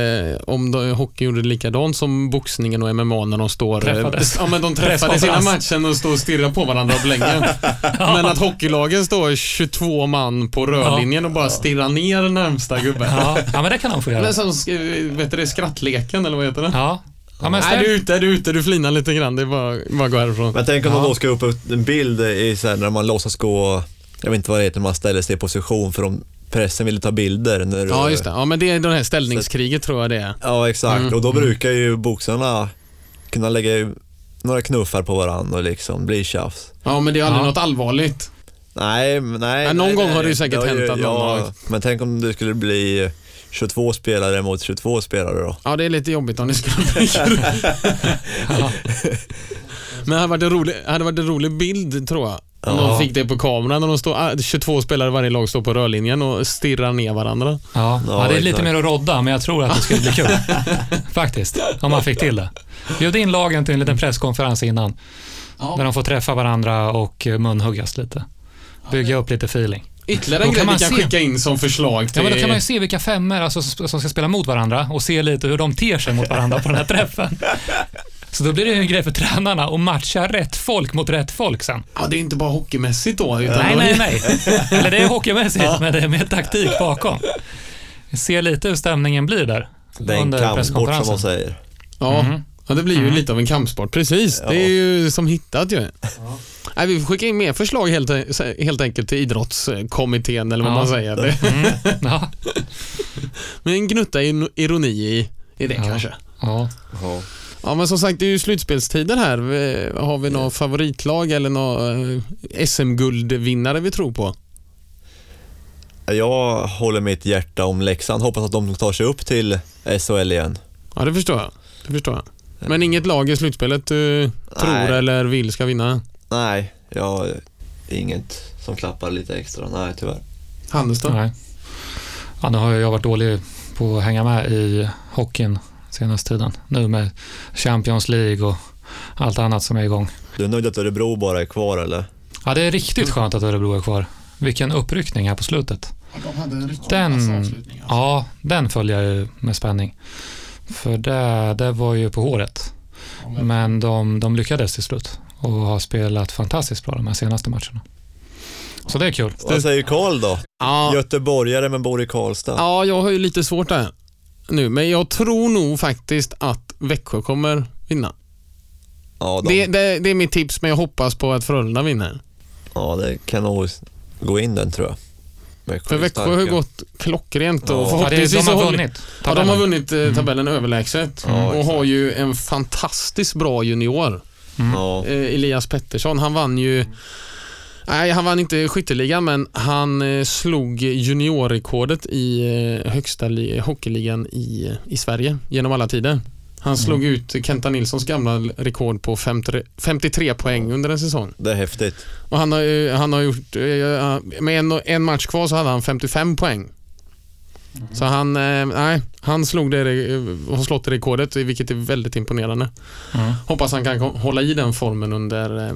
Speaker 2: om de, hockey gjorde likadant som boxningen och MMA när de står...
Speaker 1: Träffades.
Speaker 2: Eh, ja, men de träffades innan matchen och står och stirrar på varandra och [LAUGHS] blänger. Men att hockeylagen står 22 man på rödlinjen och bara stirrar ner närmsta gubbe.
Speaker 1: Ja, ja men det kan de få göra.
Speaker 2: Eller som, sk- eh, vet du det, skrattleken eller vad heter det?
Speaker 1: Ja, ja men
Speaker 2: Nej,
Speaker 1: ställ,
Speaker 2: du är ute, du är ute, du flinar lite grann. Det är bara, bara gå härifrån.
Speaker 3: Men tänk om
Speaker 1: Ja.
Speaker 3: de då ska upp en bild i så här, när man låtsas gå, jag vet inte vad det heter, när man ställer sig i position för om pressen vill ta bilder. När du,
Speaker 2: Ja, just det. Mm. Ja, men det är det här ställningskriget tror jag det är.
Speaker 3: Ja, exakt. Och då brukar ju boxarna kunna lägga ju några knuffar på varandra och liksom bli tjafs.
Speaker 2: Ja, men det är aldrig
Speaker 1: Ja.
Speaker 2: något allvarligt.
Speaker 3: Nej, men- nej.
Speaker 2: Ja, någon
Speaker 3: nej,
Speaker 2: gång
Speaker 3: nej.
Speaker 2: har det ju säkert
Speaker 3: har
Speaker 2: hänt att någon har-
Speaker 3: Men tänk om det skulle bli 22 spelare mot 22 spelare då.
Speaker 2: Ja, det är lite jobbigt om ni skulle bli
Speaker 1: [LAUGHS]
Speaker 2: Men det hade varit en rolig, hade varit en rolig bild tror jag. Om
Speaker 3: Ja.
Speaker 2: de fick det på kameran när de står, ah, 22 spelare i varje lag står på rörlinjen och stirrar ner varandra.
Speaker 1: ja, ja, det är lite mer att rodda, men jag tror att det skulle bli kul. Faktiskt, om man fick till det. Bjud in lagen till en liten presskonferens innan, där de får träffa varandra och eh, munhuggas lite. Bygga upp lite feeling.
Speaker 2: Ytterligare
Speaker 1: Då
Speaker 2: en
Speaker 1: kan
Speaker 2: grej
Speaker 1: man
Speaker 2: vi kan
Speaker 1: se.
Speaker 2: skicka in som förslag
Speaker 1: Ja,
Speaker 2: till...
Speaker 1: men då kan man ju se vilka femmer alltså, s- som ska spela mot varandra och se lite hur de ter sig mot varandra på den här [LAUGHS] träffen. Så då blir det ju en grej för tränarna att matcha rätt folk mot rätt folk sen.
Speaker 2: ja, det är inte bara hockeymässigt då. Utan
Speaker 1: Nej, nej, nej. [LAUGHS] Eller det är hockeymässigt, men det är mer taktik bakom. Vi ser lite hur stämningen blir där.
Speaker 3: Det är en
Speaker 1: under
Speaker 3: kampsport som
Speaker 1: presskonferensen.
Speaker 3: de säger.
Speaker 2: Ja.
Speaker 1: Mhm.
Speaker 2: ja, det blir ju lite av en kampsport. Precis, det är ju som hittat ju. Nej, vi får skicka in mer förslag helt, helt enkelt till idrottskommittén eller vad
Speaker 1: Ja.
Speaker 2: man
Speaker 1: [LAUGHS]
Speaker 2: säger. Det,
Speaker 1: Mm. Ja.
Speaker 2: men en gnutta in- ironi i, i det
Speaker 1: Ja.
Speaker 2: kanske.
Speaker 1: Ja.
Speaker 2: Ja men som sagt det är ju slutspelstider här. Eh, Har vi några favoritlag eller några eh, SM-guldvinnare vi tror på?
Speaker 3: Jag håller mitt hjärta om Leksand, hoppas att de tar sig upp till SHL igen.
Speaker 2: Ja det förstår jag. Det förstår jag. Men inget lag i slutspelet du tror eller vill ska vinna?
Speaker 3: Nej, jag inget som klappar lite extra. Nej, tyvärr.
Speaker 2: Halmstad?
Speaker 1: Nej. Ja, nu har jag varit dålig på att hänga med i hockeyn senaste tiden. Nu med Champions League och allt annat som är igång.
Speaker 3: Du är nöjd att Örebro bara är kvar eller?
Speaker 1: Ja, det är riktigt skönt att Örebro är kvar. Vilken uppryckning här på slutet. Den, ja, den följer jag ju med spänning. För det, det var ju på håret. Men de, de lyckades till slut och har spelat fantastiskt bra de här senaste matcherna. Så det är kul.
Speaker 3: Vad säger Karl då?
Speaker 2: Ja,
Speaker 3: Göteborgare men bor i Karlstad.
Speaker 2: ja, jag har ju lite svårt där nu, men jag tror nog faktiskt att Växjö kommer vinna.
Speaker 3: Ja, de,
Speaker 2: Det, det, det är mitt tips, men jag hoppas på att Frölunda vinner.
Speaker 3: ja det kan nog gå in den tror jag. Växjö
Speaker 2: För
Speaker 3: är
Speaker 2: Växjö har
Speaker 3: starka.
Speaker 2: ju gått klockrent och
Speaker 3: Ja.
Speaker 1: Ja, det,
Speaker 2: förhoppningsvis
Speaker 1: de
Speaker 2: så
Speaker 1: har
Speaker 2: håller-
Speaker 1: vunnit.
Speaker 2: Ja, de har
Speaker 1: tabellen.
Speaker 2: vunnit eh, tabellen överlägset
Speaker 3: Mm. Ja,
Speaker 2: och
Speaker 3: exakt.
Speaker 2: har ju en fantastiskt bra junior.
Speaker 1: Mm,
Speaker 3: Ja,
Speaker 2: Eh, Elias Pettersson, han vann ju Nej, han vann inte skytteligan, men han eh, slog juniorrekordet i eh, högsta li- hockeyligan i, i Sverige genom alla tider. Han slog
Speaker 3: Mm.
Speaker 2: ut Kenta Nilssons gamla rekord på 53, 53 poäng under en säsong.
Speaker 3: det är häftigt.
Speaker 2: Och han har, eh, han har gjort, eh, med en, en match kvar så hade han 55 poäng. Så han, eh, nej, han slog det, re- har slått det rekordet, vilket är väldigt imponerande.
Speaker 1: Mm.
Speaker 2: Hoppas han kan ko- hålla i den formen under, eh,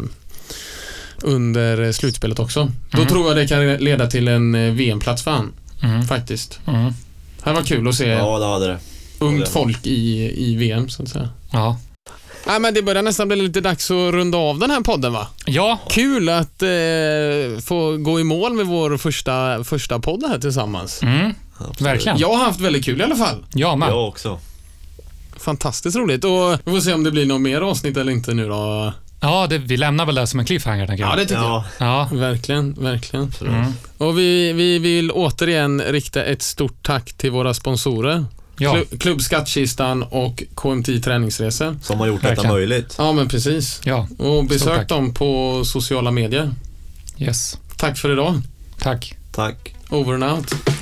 Speaker 2: under eh, slutspelet också. Då
Speaker 1: Mm.
Speaker 2: tror jag det kan leda till en eh, VM-plats för han,
Speaker 1: Mm.
Speaker 2: faktiskt.
Speaker 1: Mm.
Speaker 2: Det här var kul att se
Speaker 3: Ja, det hade det.
Speaker 2: ungt folk i, i VM, så att säga.
Speaker 1: Ja.
Speaker 2: Nej, men det börjar nästan bli lite dags att runda av den här podden, va?
Speaker 1: ja,
Speaker 2: Kul att eh, få gå i mål med vår första, första podd här tillsammans.
Speaker 1: mm.
Speaker 3: Absolut.
Speaker 1: verkligen.
Speaker 2: Jag har haft väldigt kul i alla fall.
Speaker 1: Jag med.
Speaker 3: Jag också.
Speaker 2: Fantastiskt roligt och vi får se om det blir något mer avsnitt eller inte nu då.
Speaker 1: Ja, det, vi lämnar väl det som en cliffhanger tänker jag.
Speaker 2: det
Speaker 3: Ja,
Speaker 1: Ja.
Speaker 2: Verkligen, verkligen.
Speaker 3: absolut.
Speaker 1: Mm.
Speaker 2: Och vi, vi vill återigen rikta ett stort tack till våra sponsorer.
Speaker 1: Ja.
Speaker 2: Klu- Klubb Skattkistan och KMT Träningsresor.
Speaker 3: Som har gjort detta
Speaker 1: Verkligen.
Speaker 3: möjligt.
Speaker 2: Ja, men precis.
Speaker 1: ja,
Speaker 2: Och besök
Speaker 1: tack.
Speaker 2: dem på sociala medier.
Speaker 1: yes.
Speaker 2: Tack för idag.
Speaker 1: Tack.
Speaker 3: Tack.
Speaker 2: Over and out.